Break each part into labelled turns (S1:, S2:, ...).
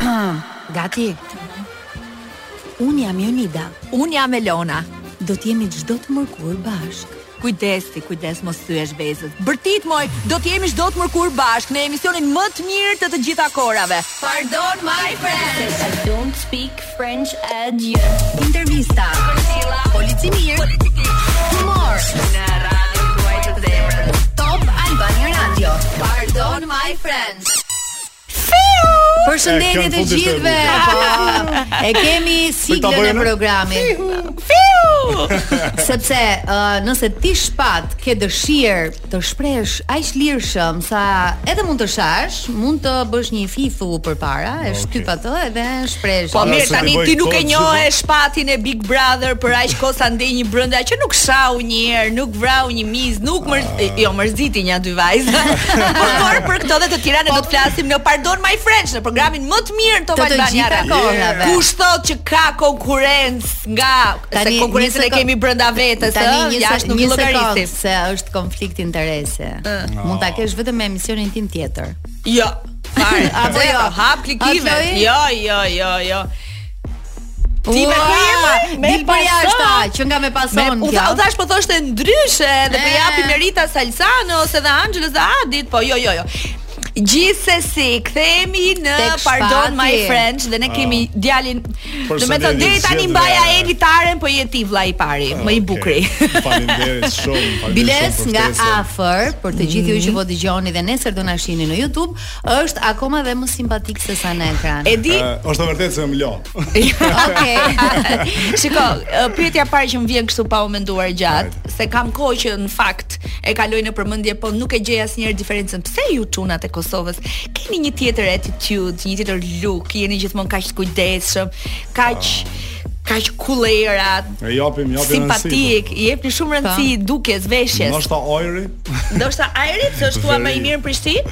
S1: Ah, gati. Un jam Jonida.
S2: Un jam Elona.
S1: Do të jemi çdo të mërkur bashk.
S2: Kujdes ti, kujdes mos thyesh vezët. Bërtit moj, do të jemi çdo të mërkur bashk në emisionin më të mirë të të gjitha korave. Pardon my friends.
S3: I don't speak French adieu.
S2: Intervista. Policimir. Humor. Në radio tuaj të zemrës. Top Albania Radio. Pardon my friends.
S4: E,
S5: Përshëndetje
S4: kënë
S5: të
S4: fundit e
S5: gjithëve. Po, E kemi siglën e
S4: bojnë?
S5: programit.
S2: Fiu!
S5: Sepse ë, nëse ti shpat ke dëshirë të shpresh aq lirshëm sa edhe mund të shash, mund të bësh një fithu përpara, e shtyp atë edhe shpresh.
S2: Po
S4: Ara,
S2: mirë
S4: se
S2: tani
S4: nevoj
S2: ti nuk e
S4: kot,
S2: njohe shpatin e Big Brother për aq kohë sa ndej një brenda që nuk shau një herë, nuk vrau një mizë, nuk mër...
S5: Ah.
S2: jo mërziti një dy vajza. Por por për këto dhe të tjera ne do të flasim në Pardon My French në programin më të mirë të
S5: Po- Të të
S2: Albania
S5: gjitha
S2: Radio.
S5: kohërave.
S2: Kush thot që ka konkurrencë nga se
S5: Tani,
S2: konkurrencën
S5: një
S2: e
S5: sekond-
S2: kemi brenda vetes,
S5: Tani
S2: ë,
S5: një se,
S2: jashtë nuk
S5: një sekond
S2: llogarisim.
S5: se është konflikt interese.
S2: Mm.
S5: Mund ta kesh vetëm me emisionin tim tjetër.
S2: Jo. Fare,
S5: Apo
S2: zero,
S5: jo?
S2: hap klikime.
S5: A, Chloe?
S2: Jo, jo, jo, jo. Ti me ku jema? Jo. Me
S5: Dil për
S2: pason.
S5: jashtë që nga me
S2: Me,
S5: pason
S2: u, tha, u
S5: kjo.
S2: thash po thoshte ndryshe dhe po
S5: E.
S2: japi Merita Salsano ose dhe Anxhelës dhe Adit, po jo jo jo. Gjithsesi, kthehemi në
S5: Tek
S2: Pardon
S5: shpati.
S2: My French dhe ne kemi djalin. Do me
S4: Përshëndetje
S2: thonë deri tani
S4: gjithëve.
S2: mbaja elitaren, po je ti vlla i pari, më i bukri.
S4: Faleminderit shumë. faleminderit
S5: Biles
S4: shumë për
S5: nga
S4: ftesën.
S5: afër, për të gjithë ju
S2: Mm.
S5: që po dëgjoni dhe nesër do na shihni në YouTube, është akoma dhe më simpatik se sa në ekran.
S2: E di,
S4: Ë, është e vërtetë se më lo.
S5: Okej.
S2: Shiko, ë, pyetja e parë që më vjen kështu pa u menduar gjatë, se kam kohë që në fakt e kaloj në përmendje, po nuk e gjej asnjëherë diferencën. Pse ju çunat e Kosovës keni një tjetër attitude, një tjetër look, jeni gjithmonë kaq të kujdesshëm, kaq
S4: Ah.
S2: kaq kullera,
S4: E japim, japim
S2: simpatik, i jepni shumë rëndësi dukjes, veshjes.
S4: po. Ndoshta ajri.
S2: Ndoshta ajri, se është thua më i mirë në Prishtinë,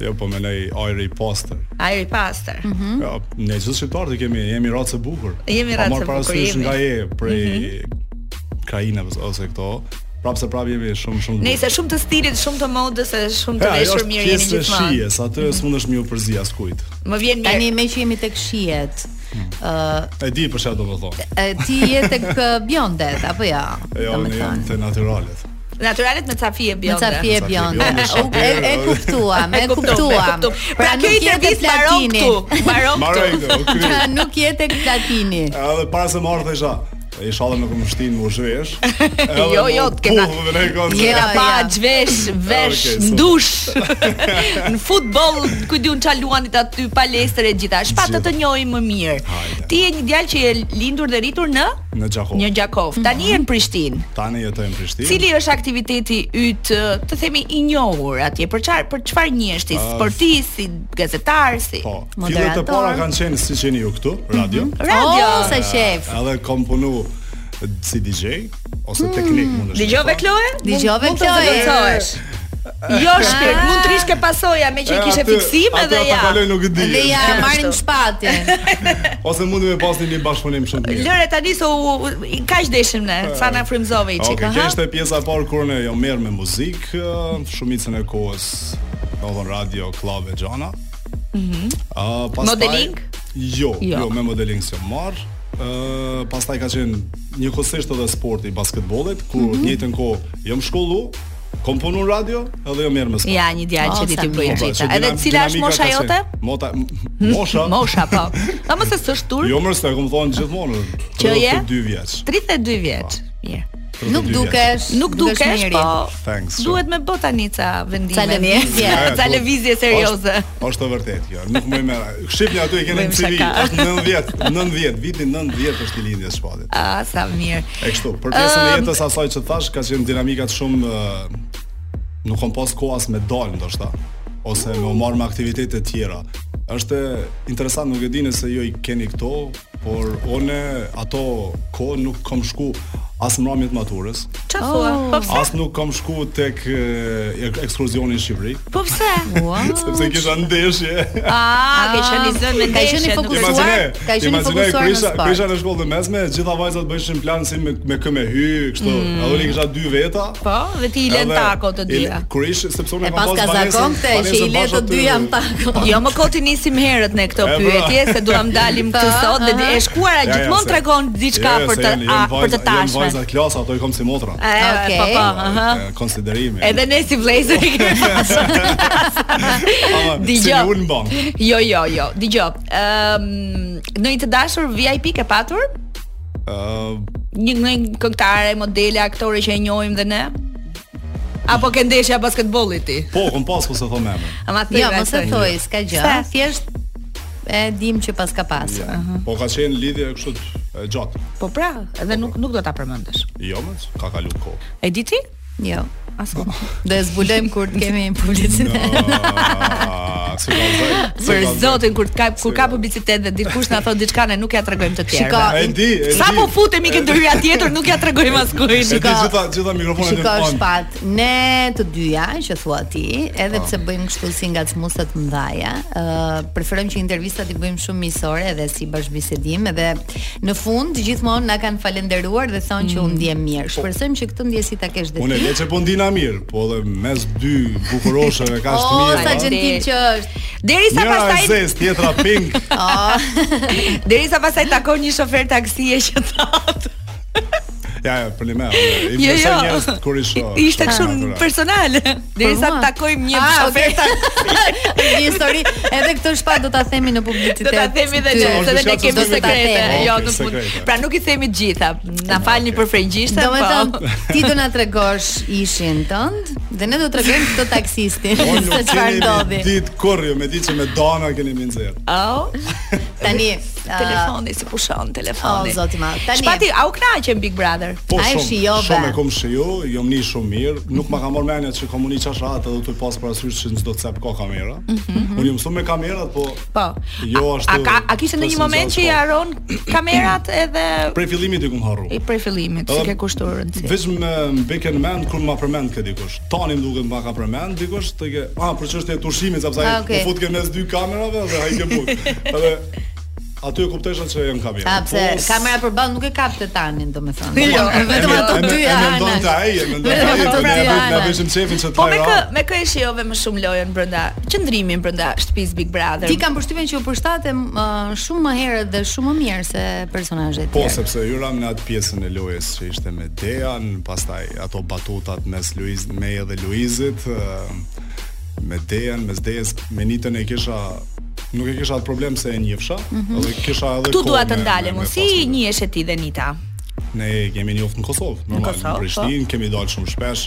S4: Jo, po mendoj ajri i pastër.
S2: ajri i pastër.
S4: Jo, ne gjithë shqiptarët i kemi, jemi racë e bukur.
S2: Hmm? Jemi
S4: Pa
S2: racë
S4: marrë
S2: e bukur,
S4: parasysh
S2: jemi. Mhm.
S4: nga e prej krainave ose këto. Prapë se prapë jemi shumë shumë. të
S2: Nëse
S4: bukur.
S2: shumë të stilit, shumë të modës, e shumë
S4: Ja,
S2: të
S4: ajo
S2: veshur
S4: është
S2: mirë jeni
S4: pjesë e
S2: gjithmonë. Mhm.
S4: shijes, atë s'mundesh më u përzi askujt.
S2: Më vjen mirë.
S5: Tani me që jemi tek shihet, ë
S4: E di për çfarë do të thonë.
S5: e, ti je tek ë, bjondet apo jo?
S4: Jo, ne jemi të naturalet.
S2: Naturalet me ca fije
S5: Me
S2: bjonde.
S5: ca fje
S4: Me ca fije
S5: bjonde.
S4: bjonde,
S5: U- E, e
S4: shapiro.
S5: kuptuam, e
S2: kuptoj,
S5: kuptuam.
S2: kuptoj. Pra kjo
S5: je tek
S2: intervistë mbaron
S5: platini.
S2: këtu. Mbaron
S4: Marrë
S2: këtu.
S4: këto. kryr.
S5: Pra nuk je tek platini.
S4: Edhe para se marrë të isha Inshallah nuk më shtin më zhvesh.
S2: Jo, jo, të kena-
S5: Jo,
S2: Jena
S4: Jera.
S5: jo.
S2: pa zhvesh,
S4: Okej,
S2: vesh,
S4: Ah, super.
S2: ndush. në futboll ku diun ça luanit aty palestër e gjitha. Shpatë të
S4: Gjitha.
S2: njohim më mirë.
S4: Hajde. Po.
S2: Ti je një djalë që je lindur dhe rritur në
S4: Në Gjakov.
S2: Në Gjakov.
S5: Mhm.
S2: Tani je në Prishtinë.
S4: Tani jetoj në Prishtinë.
S2: Cili është aktiviteti yt, ë, të themi i njohur atje? Për çfarë për çfarë njesh ti?
S4: Ah,
S2: Sportist, si gazetar, si?
S4: Po, fillet
S5: Moderator.
S4: e para kanë qenë si qeni ju këtu, radio.
S2: Mhm. Radio.
S5: Oh, sa qef.
S4: Edhe kam punu si DJ ose teknik mund të
S2: Mhm. Dëgjove Kloe?
S5: Dëgjove,
S2: Mund- mund të
S5: Kloe?
S2: zëvendësohesh. Jo shpirt, mund të rish ke pasoja me që i kishe fiksim edhe
S4: Ata
S2: ja.
S4: kaloj nuk e di.
S5: Dhe ja
S2: Ashtu.
S5: marrim shpatin.
S4: Ose mundi me pasni një bashkëpunim shumë të mirë.
S2: Lëre tani se u u- i- kaq deshim ne, sa na frymzove i
S4: Okej,
S2: çik.
S4: okay, kjo
S2: aha.
S4: ishte pjesa e parë kur ne jo merr me muzikë, ë, shumicën e kohës, domethënë radio, klave, xhana. Mhm. Ah, pastaj
S2: Modeling?
S4: Jo,
S2: Jo.
S4: jo, me modeling s'jam marr. Ë, pastaj ka qenë njëkohësisht edhe sporti i basketbollit, ku
S2: Mhm.
S4: në të njëjtën kohë jam shkollu, kom punu në radio, edhe jo merr me sport.
S2: Ja, një djalë
S5: Oh,
S2: që ti
S5: sa
S2: ti bëj
S5: mirë.
S4: Po, pra,
S2: rita.
S4: që
S2: Edhe
S4: dinam-
S2: cila është
S4: dinamika
S2: mosha
S4: ka qenë.
S2: jote?
S4: Mota mosha.
S2: Mosha po. Sa mos e s'është tur?
S4: Jo më s'ta kom thonë gjithmonë.
S2: Që je?
S4: 32 vjeç.
S2: 32 vjeç.
S4: Po.
S2: Mirë.
S4: 32
S5: Nuk
S4: vjeç.
S5: dukesh.
S2: Nuk dukesh,
S5: miri.
S2: po
S4: Thanks, shumë.
S2: duhet me bë tani ca vendime.
S5: Ca lëvizje.
S4: Ja, ja,
S2: Ca
S4: duhet.
S2: lëvizje serioze.
S4: Është, është e vërtetë kjo. Nuk më më. Shqipni aty e keni
S2: Bëjmë
S4: në CV.
S2: shaka.
S4: Është 90, 90, viti 90 është i lindjes së shpatit.
S2: Ah, sa mirë.
S4: E kështu, për pjesën e
S2: Ëm.
S4: jetës asaj që thash, ka qenë dinamikat shumë ë, nuk kam pas kohë as me dal ndoshta ose me u marr me aktivitete të tjera. Është interesant, nuk e di nëse ju i keni këto, por one ato kohë nuk kam shku as në ramin të maturës,
S2: Çfarë thua? Po pse?
S4: as nuk kam shku tek e, ekskursioni në Shqipëri,
S2: Po pse?
S4: sepse kisha ndeshje.
S2: Ah, ke qenë i zënë
S5: Ka qenë i
S2: me ndeshje, nuk-
S5: fokusuar.
S4: Imagjine,
S5: ka qenë i
S4: imagjine,
S5: fokusuar në
S4: krisha,
S5: sport.
S4: krisha në shkollën e mesme, gjitha vajzat bëjshin plan si me, me këmë hy, kështu. Mm. Edhe unë kisha dy veta.
S2: Po, dhe ti i len
S4: edhe-
S2: tako të
S4: i-
S2: dyja.
S4: Kur ish sepse unë
S5: E pas ka zakon këtë që i le të dy jam tako.
S2: Jo më koti nisim herët ne këto
S4: E, po.
S2: pyetje se duam dalim këtë
S5: Po,
S2: sot dhe e shkuara Pra, gjithmonë tregon diçka për të a, për të
S4: Janë
S2: tashmen.
S4: vajza klasa, ato i kom si motra.
S2: E,
S5: Okej.
S2: Po po, aha.
S4: E, Konsiderimi.
S2: Edhe ne si vlezër i kemi
S4: Ama, Si
S2: Dgjoj.
S4: një unë bon.
S2: Jo, jo, jo. Dgjoj. Ëm, në një të dashur VIP ke patur?
S4: Ë,
S2: Një një këngëtare, modele, aktore që e njohim dhe ne? Apo ke ndeshja basketbollit ti?
S4: Po, kom pas po se thon emrin.
S2: Ama thoj.
S5: Jo,
S2: na,
S5: mos e
S2: thoj.
S5: thoj, s'ka gjë.
S2: Pse?
S5: Thjesht e dim që pas ka pas.
S4: Ja. Po ka qenë lidhje kështu të- e, gjatë.
S2: Po pra, edhe nuk nuk do ta përmendesh.
S4: Jo, më ka kalu kohë.
S2: E di ti? Po.
S5: Jo.
S2: Aso.
S5: Do e zbulojmë kur të kemi publicitet.
S4: Ah, si ka zënë. si
S2: Për
S4: ka zënë.
S2: zotin kur ka kur ka publicitet dhe dikush na thon diçka ne nuk ja tregojmë të tjerëve.
S5: Shiko,
S4: E di, e di.
S2: Sa po futemi këtë hyra tjetër nuk ja tregojmë
S4: E
S2: askujt.
S4: di gjitha gjitha mikrofonet e
S5: Shiko
S4: pan.
S5: shpat, ne të dyja që thua ti,
S4: Po.
S5: edhe pse bëjmë kështu si ngacmuese të mëdha, ë preferojmë që intervistat i bëjmë shumë miqësore edhe si bashkëbisedim edhe në fund gjithmonë na kanë falendëruar dhe thonë që u ndjem mirë. Shpresojmë që këtë ndjesi ta kesh dhe
S4: Mm. Po. Unë
S5: ti.
S4: le që po ndina mirë, po dhe mes dy bukurosheve ka
S5: O,
S2: Oh,
S4: është mirë. po.
S5: sa
S4: a?
S2: gjë-
S5: gjentil që është.
S2: Derisa
S4: Njëra e
S2: pastaj
S4: zezë, tjetra pink.
S2: derisa pastaj takon një shofer taksie që thot.
S4: Ja, ja, për një me. I
S2: Jo,
S4: përse
S2: jo.
S4: njerëz kur i shoh. pra?
S2: Ishte
S4: Shumë
S2: kështu
S4: natyral.
S2: personal. Derisa
S5: Po, mua?
S2: takojmë një
S5: Ah,
S2: shofer taksie
S5: Një histori, edhe këtë shpat do ta themi në publicitet.
S2: do ta themi dhe
S5: Ty.
S2: ne,
S4: Është
S2: se dhe ne
S4: diçka
S2: kemi
S5: që s'do ta
S2: sekrete.
S5: themi.
S2: Jo,
S4: Okej,
S2: nuk mund.
S4: sekrete.
S2: Pra nuk i themi të gjitha. Na falni për frëngjishtën,
S5: Do me
S2: po.
S5: thënë, ti do na tregosh ishin tënd Dhe ne do tregojmë këtë taksistin
S4: Po
S5: Se
S4: nuk
S5: çfarë ndodhi
S4: keni ditë kurrë, ju me ditë që me Dana keni më nxjerr.
S2: Au.
S5: Tani uh,
S2: Telefoni si pushon telefoni.
S5: O, zoti madh. Tani-
S2: Shpati, au knaqen Big Brother.
S4: Po
S5: A e
S4: shumë,
S5: shijove?
S4: shumë e kom shiju, jom ni shumë mirë, nuk ma ka marrë mendja që komu një qashat edhe të pas parasysh që në do të cep ka kamera.
S2: Mhm,
S4: Unë jam mësu me kamerat, po
S2: Po.
S4: Jo
S2: A-
S4: ashtu.
S2: A ka a kishte ndonjë
S4: po,
S2: moment që
S4: s'u
S2: i
S4: zgjat, po.
S2: haron kamerat edhe
S4: Prej fillimit i kum harru.
S2: i prej fillimit, si
S4: Ëm,
S2: ke kushtuar rëndësi.
S4: Vetëm me mbikën mend kur ma përmend kë dikush. Tani më duket ma ka përmend dikush, të ke, ah, për çështje tushimit sepse
S5: Ah,
S4: ai
S5: okay.
S4: u fut ke mes dy kamerave dhe ai ke but. Edhe aty e kuptesha që janë kamera.
S5: A pse
S4: Po,
S5: kamera përballë nuk e kap të tanin domethënë.
S2: Jo,
S4: Po, e
S5: vetëm
S4: me-
S5: ato
S4: e me-
S5: dy
S4: e mendon të
S5: anash.
S4: ai, e mendon të
S5: Vetëm
S4: ai,
S5: ato
S4: po ne
S5: dy
S4: e bëjmë- ne
S5: anash.
S4: bëjmë çefin që të
S2: Po me
S4: ra.
S2: kë me kë e shijove më shumë lojën brenda qëndrimin brenda shtëpisë Big Brother.
S5: Ti kam përshtypjen që u përshtatem uh, shumë më herët dhe shumë më mirë se personazhet
S4: Po,
S5: tjerë.
S4: sepse hyram në atë pjesën e lojës që ishte me Dean, pastaj ato batutat mes Luiz, me dhe Luizit, ë, me Dean, mes Dejes, me Nitën e kisha nuk e kisha atë problem se e njihsha, edhe kisha edhe
S2: Këtu
S4: kohë
S2: Mhm. dua të
S4: me-
S2: ndalem,
S4: me- me
S2: unë si
S4: pas-
S2: njiheshe ti dhe Nita?
S4: Ne kemi njoft në Kosovë, normal, në,
S2: Kosovë, po.
S4: Prishtinë, kemi dalë shumë shpesh.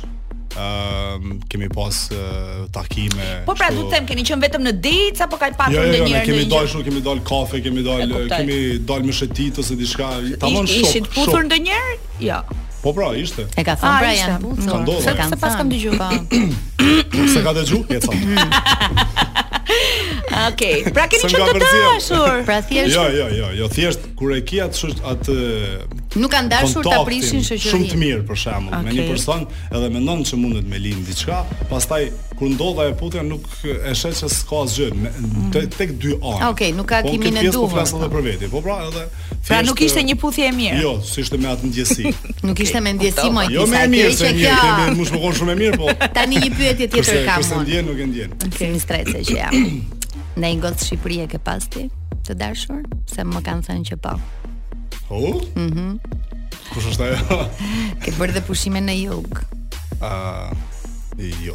S4: Ëm kemi pas ë, takime.
S2: Po pra
S4: kështu.
S2: du të them, keni qenë vetëm në dates apo ka
S4: Jo,
S2: patur
S4: jo, jo, ne
S2: ndonjëherë
S4: kemi
S2: ndonjë-
S4: dalë shumë, kemi dalë kafe, kemi dalë,
S2: E kuptoj.
S4: kemi dalë me shetit ose diçka, tamam
S2: Ish-
S4: shok.
S2: Ishit puthur
S4: shok.
S2: ndonjëherë? Jo.
S4: Po pra, ishte.
S5: E ka
S2: Ah,
S5: thënë pra
S2: ishte.
S5: janë
S4: Ka
S5: puthur.
S4: ndodhur.
S5: se
S4: Se-
S5: kanë
S2: se pas kam
S5: thënë.
S2: dëgjuar.
S5: Po.
S4: Se ka dëgju, jeca.
S2: Okej. Pra keni
S4: Se
S2: qenë
S4: nga
S2: të
S4: Berzia.
S2: dashur.
S5: Pra thjesht
S4: Jo, jo, jo, jo, thjesht kur e ki atë shoq- atë
S5: nuk kanë dashur ta
S4: kontaktin
S5: prishin
S4: Shumë të
S5: shoqërinë.
S4: mirë për shembull, me një
S2: Okej.
S4: person edhe mendon se mundet me lind diçka, pastaj kur ndodha e putja nuk e sheh se s'ka asgjë, me- te- tek dy anë.
S5: Okej, nuk ka
S4: Po, në
S5: kimin
S4: këtë
S5: e
S4: pjesë
S5: duhur.
S4: Po flas edhe për veti. Po pra, edhe
S2: Pra
S4: thjesht,
S2: nuk ishte
S4: e,
S2: një puthje e mirë.
S4: Jo, s'ishte me atë ndjesi.
S5: Nuk ishte me ndjesi moj
S4: Jo më e mirë se mirë, kemi më shumë shumë e mirë, po.
S5: Tani një pyetje
S4: Kurse
S5: tjetër kam
S4: kurse
S5: unë.
S4: ndjen nuk e ndjen.
S5: Si një strese që jam. Në një gotë Shqipëri e ke pas ti të dashur, se më kanë thënë që po.
S4: Oh? Mhm. Kush është ajo?
S5: Ke bërë dhe pushime në jug.
S4: Ah, jo.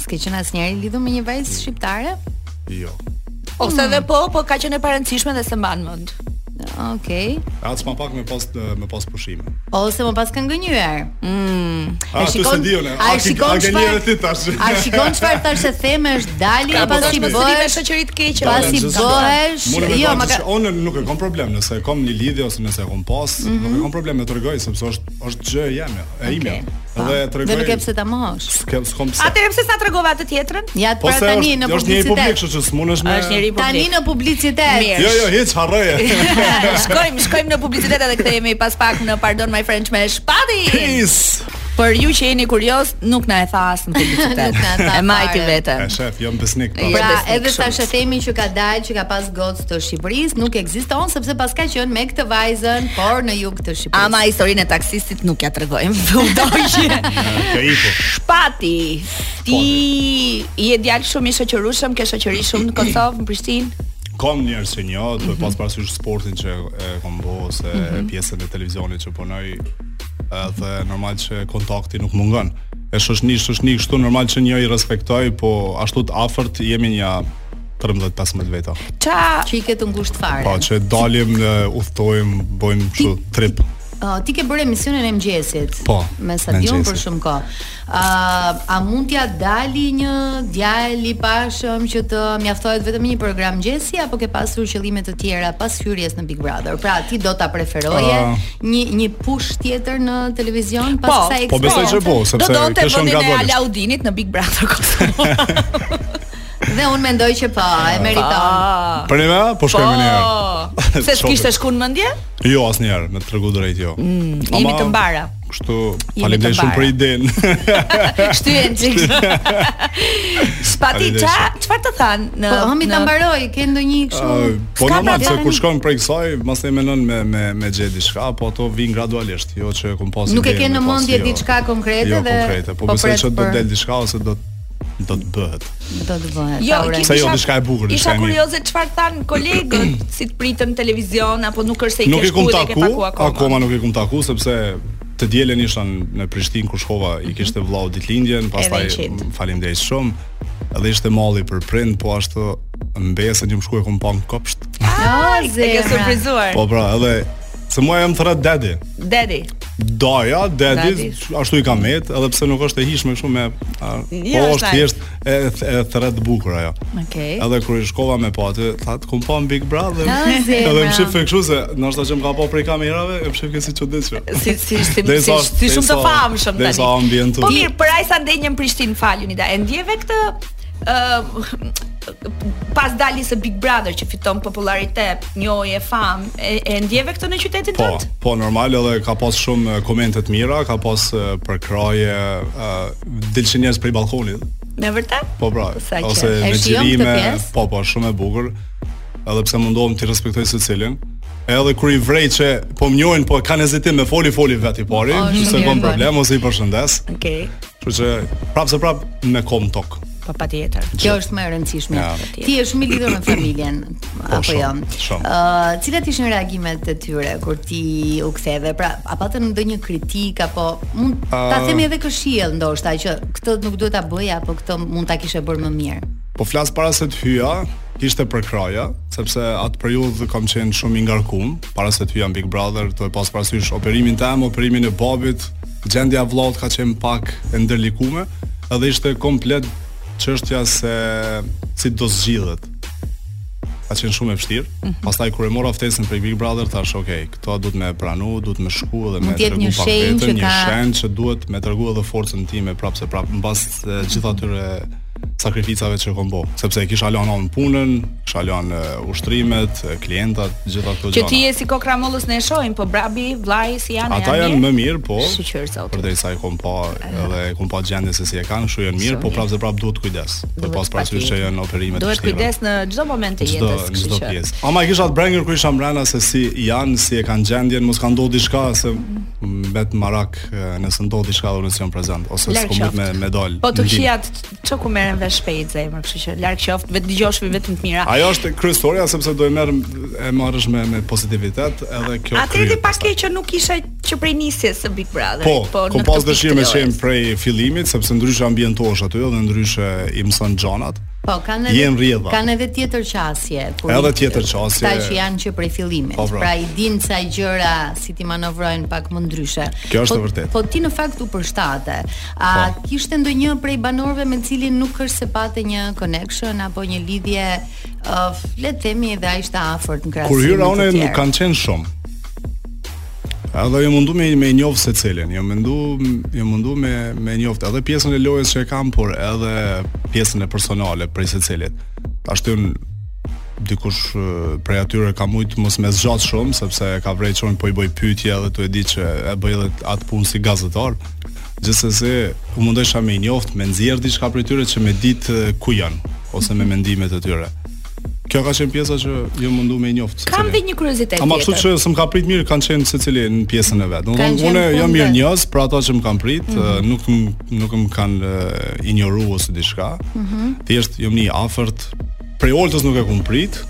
S5: S'ke qenë asnjëherë i lidhur me një vajzë shqiptare?
S4: Jo.
S2: Ose
S5: Mm.
S2: edhe po, po ka qenë e parëndësishme dhe se mban mend.
S5: Okej.
S4: Atë s'ma pak me pas me pas pushime.
S5: Ose më pas kanë gënjyer.
S4: A, tu se di unë.
S5: a shikon
S4: çfarë? A ke
S5: çfarë?
S4: njerë ti tash.
S5: A shikon çfarë tash e theme është dali
S4: Ka
S5: pas
S4: pasur
S5: i
S4: mos i
S2: Sërime
S5: bëhesh?
S2: shoqëri të keqe.
S5: Pas i
S4: Gjithçka.
S5: bëhesh,
S4: Mune me
S5: jo,
S4: thonë
S5: ma
S4: që
S5: ka-
S4: unë nuk e kam problem nëse e kam një lidhje ose nëse e kam pas, nuk
S5: Mhm.
S4: e kam problem me t'rregoj sepse është është gjë e jeme, e ime.
S5: Po.
S4: Edhe
S5: Dhe
S4: t'rregoj.
S5: nuk e pse ta mohosh.
S4: s'kem s'kom pse.
S2: Atëherë pse sa tregova të tjetrën?
S5: Ja
S4: Po
S5: pra
S4: se
S5: tani
S4: është-
S5: në
S4: është një publik,
S5: publicitet.
S4: kështu që s'munesh me.
S2: Është njëri
S5: Tani
S2: publik.
S5: në publicitet.
S2: Mirë.
S4: Jo, jo, hiç harroje.
S2: Shkojmë, shkojmë në publicitet edhe kthehemi pas pak në Pardon My French me Shpati.
S4: Peace.
S2: Për ju që jeni kurioz, nuk na e tha as në publicitet.
S5: Nuk na e tha
S2: e majti
S5: fare.
S2: veten.
S4: E shef, jam besnik. po.
S2: Ja.
S5: Pra,
S2: besnik
S5: edhe
S2: shumë.
S5: tash e themi që ka dalë që ka pas gocë të Shqipërisë, nuk ekziston sepse pas ka qenë me këtë vajzën, por në jug të Shqipërisë.
S2: Ama historinë e taksistit nuk ja tregojmë. U doqje.
S4: Ka iku.
S2: Shpati,
S5: Po,
S2: ti je djalë shumë i shoqërueshëm, ke shoqëri shumë në Kosovë, në Prishtinë.
S4: Kam njerëz që njoh, duhet pas parasysh sportin që e kam bë ose
S2: Mhm.
S4: pjesën e televizionit që punoj, edhe normal që kontakti nuk mungon. E shoshni, shoshni kështu normal që një i respektoj, po ashtu të afërt jemi një 13-15 veta.
S2: Ça
S5: që i ke të ngushtë fare.
S4: Pa Po, që dalim, e, udhtojmë, bëjmë kështu trip.
S5: Ë, ti ke bërë emisionin e mëngjesit.
S4: Po,
S5: Me Sadion për
S4: mëngjesit.
S5: shumë kohë. Ë, a mund t'ja dali një djalë i pashëm që të mjaftohet vetëm një program mëngjesi apo ke pasur qëllime të tjera pas hyrjes në Big Brother? Pra, ti do ta preferoje
S4: Ë.
S5: një një push tjetër në televizion pas
S2: Po,
S5: kësaj
S4: po, besoj që po,
S5: eksperience?
S4: se- Sepse
S2: do donte
S4: ke shumë
S2: vendin e
S4: gabonisht.
S2: Alaudinit në Big Brother Kosovë.
S5: Dhe unë mendoj që po, e meriton.
S4: Për një vend, po shkojmë një herë.
S2: Po. Se s'kishte shku në mendje?
S4: Jo, asnjëherë, me të tregu drejt jo. Mm,
S2: jemi të mbara.
S4: Kështu,
S2: të
S4: faleminderit shumë për
S2: mbara.
S4: idenë.
S2: Shtyen çik. Shpati
S4: Arrivesh.
S2: ça çfarë të than në
S5: Po, hëmi ta mbaroj, ke ndonjë kështu?
S4: Uh, po
S5: S'ka
S4: normal se
S5: pra-
S4: kur shkon prej kësaj, mos e menon me me me gjë diçka, po ato vijnë gradualisht, jo që kum pas.
S5: Nuk e
S4: idenë,
S5: ke në
S4: me pas,
S5: mendje
S4: jo.
S5: diçka konkrete
S4: jo,
S5: dhe
S4: konkrete, po,
S5: po
S4: besoj
S5: pret
S4: që do
S5: për-
S4: të del diçka ose do të do të bëhet.
S5: do të bëhet.
S2: Jo,
S5: Aure.
S4: Se jo, diçka e bukur, diçka
S2: Isha
S4: e mirë.
S2: kurioze çfarë than kolegët, si të pritën televizion apo nuk është se i
S4: Nuk
S2: ke
S4: e kum
S2: shku dhe ke
S4: taku,
S2: paku akoma.
S4: akoma nuk e kum taku sepse të dielën isha në- në Prishtinë kur shkova, i kishte vllau ditëlindjen, pastaj
S2: Mhm. i qit.
S4: m, faleminderit shumë. Edhe ishte malli për prind, po ashtu mbesën që më shkuaj kum pa në kopsht.
S5: Ah,
S2: E ke
S5: zemra.
S2: surprizuar.
S4: Po pra, edhe se mua jam thrat daddy.
S2: Daddy.
S4: Daja, dedi,
S2: Dedi.
S4: ashtu i kam met, edhe pse nuk është e hishme kështu me a,
S2: Ja,
S4: po
S2: është
S4: është
S2: ai.
S4: thjesht e, e thret bukur ajo.
S2: Okej.
S4: Edhe kur i shkova me po aty, tha të kum pa në Big Brother.
S5: Ah, zemra.
S4: edhe më shif kështu se ndoshta që më ka pa prej kamerave, e më shif ke si çuditshme.
S2: Si si si, si,
S4: Derisa-
S2: si shumë të
S4: derisa-
S2: famshëm tani.
S4: derisa ambientu.
S2: Po mirë, për ai sa ndenjën Prishtinë, fal Unida. E ndjeve këtë ë pas daljes së Big Brother që fiton popularitet, njohje, fam, e, e ndjeve këtë në qytetin
S4: Po,
S2: tënd?
S4: po normal edhe ka pas shumë e, komente të mira, ka pas e, përkraje, dilçi njerëz prej balkonit.
S2: Me vërtet?
S4: Po pra,
S2: Sa
S4: ose
S2: qe.
S4: me
S5: E shijon këtë
S4: xhirime,
S5: pjesë?
S4: po po, shumë e bukur. Edhe pse mundohem ti respektoj secilin. Edhe kur i vrej që po më njohin, po kanë hezitim me foli foli vet i pari,
S5: O,
S4: që
S5: shumë
S4: s'e
S5: mirë
S4: bën
S5: bën.
S4: problem ose i përshëndes.
S2: Okej.
S4: Kështu që prapë se prapë me kom tok.
S2: Po patjetër.
S5: Kjo është më e rëndësishme.
S4: Ja. Po,
S5: Ti je shumë i lidhur me familjen apo
S4: shumë,
S5: jo?
S4: shumë.
S5: Ë, cilat ishin reagimet e tyre kur ti u ktheve? Pra, a patën ndonjë kritik apo mund ta
S4: Ë.
S5: themi edhe këshill ndoshta që këtë nuk duhet ta bëja apo këtë mund ta kishe bërë më mirë?
S4: Po flas para se të hyja, ishte përkraja, sepse atë periudhë kam qenë shumë i ngarkum, para se të hyja në Big Brother, të e pas parasysh operimin tim, operimin e babit, gjendja e vllaut ka qenë pak e ndërlikume, edhe ishte komplet çështja se si do zgjidhet. ka qenë shumë e vështirë.
S5: Mhm.
S4: Pastaj kur e mora ftesën prej Big Brother thash, ok, këto duhet me pranu, duhet me shku dhe me
S5: Mund t'jetë
S4: tregu
S5: një
S4: pak
S5: shenjë
S4: vetën,
S5: që
S4: një
S5: ka-
S4: shenjë që duhet me tregu edhe forcën time prapë se prapë mbas e, gjithë atyre sakrificave që kom bo, sepse e kisha lënë anë punën, kisha lënë e, ushtrimet, e, klientat, gjitha këto
S2: Që ti je si kokramolës ne e shohim, po brabi, vllai si janë,
S4: Ata janë më mirë, po.
S2: Shqyr zotin.
S4: Përderisa i kom pa edhe i kom pa gjendje se si e kanë, kështu janë mirë, po prapë se prapë duhet kujdes. Për
S2: Duhet
S4: pas parasysh që
S2: patjetër.
S4: janë operime të
S2: Duhet
S4: vështira.
S2: kujdes në çdo moment të
S4: çdo
S2: jetës,
S4: çdo
S2: kështu që.
S4: pjesë. Ama e kisha të brengur kur isha mbrana se si janë, si e kanë gjendjen, mos ka ndodhur diçka se mbet marak e, nëse ndodh diçka dhe unë s'jam prezant ose
S2: Larg
S4: s'kom mund me
S2: qoftë.
S4: me dal.
S2: Po të
S4: ndim.
S2: këqijat çka ku merren vesh shpejt zemër, kështu që larg qoftë, vetë dëgjosh vetëm të mira.
S4: Ajo është kryesoria sepse do e merr e marrësh me me pozitivitet edhe kjo.
S2: Atë edhe
S4: kryet
S2: pak
S4: pastaj.
S2: keq që nuk isha që prej nisjes së Big Brother.
S4: Po, kom pas
S2: këtë
S4: dëshirë me
S2: pikë të
S4: qenë
S2: orës.
S4: prej fillimit sepse ndryshe ambientohesh aty dhe ndryshe i mëson xhanat.
S5: Po, kanë edhe
S4: Jem rrjedha.
S5: kanë edhe tjetër qasje. kur-
S4: Edhe tjetër qasje.
S5: Këta që janë që prej fillimit.
S4: Po, pra.
S5: pra i din sa gjëra si ti manovrojnë pak më ndryshe.
S4: Kjo
S5: po,
S4: është e vërtetë.
S5: Po
S4: Po.
S5: ti në fakt u përshtate. A kishte ndonjë prej banorëve me cilin nuk është se pate një connection apo një lidhje uh, le të themi edhe ai ishte afërt në krahasim.
S4: Kur
S5: me
S4: hyra
S5: të
S4: unë nuk
S5: tjerë?
S4: kanë qenë shumë. Edhe jam mundu me me njoh se cilën, jam mundu jam mundu me me njoft edhe pjesën e lojës që e kam, por edhe pjesën e personale prej secilit. Ashtu unë dikush eh, prej atyre ka mujt mos me zgjat shumë sepse ka vrej çon po i bëj pyetje edhe tu e di që e bëj edhe atë punë si gazetar. Gjithsesi, u mundojsha me i njoft, me nxjerr diçka prej tyre që me ditë eh, ku janë ose me mendimet e tyre. Kjo ka qenë pjesa që ju mundu me i njoft.
S2: Kam
S4: secilin.
S2: dhe një kuriozitet
S4: Ama kështu
S2: tjetër.
S4: që s'm ka prit mirë kanë qenë secili në pjesën e
S5: Kanë
S4: vet. Domthonë
S5: qenë Mhm.
S4: unë jam
S5: fundet.
S4: mirë njohës për ato që më kanë prit, mm nuk m- nuk më kanë eh, injoruar ose diçka.
S5: Mhm.
S4: Thjesht jam një afërt. Prej oltës nuk e kum prit,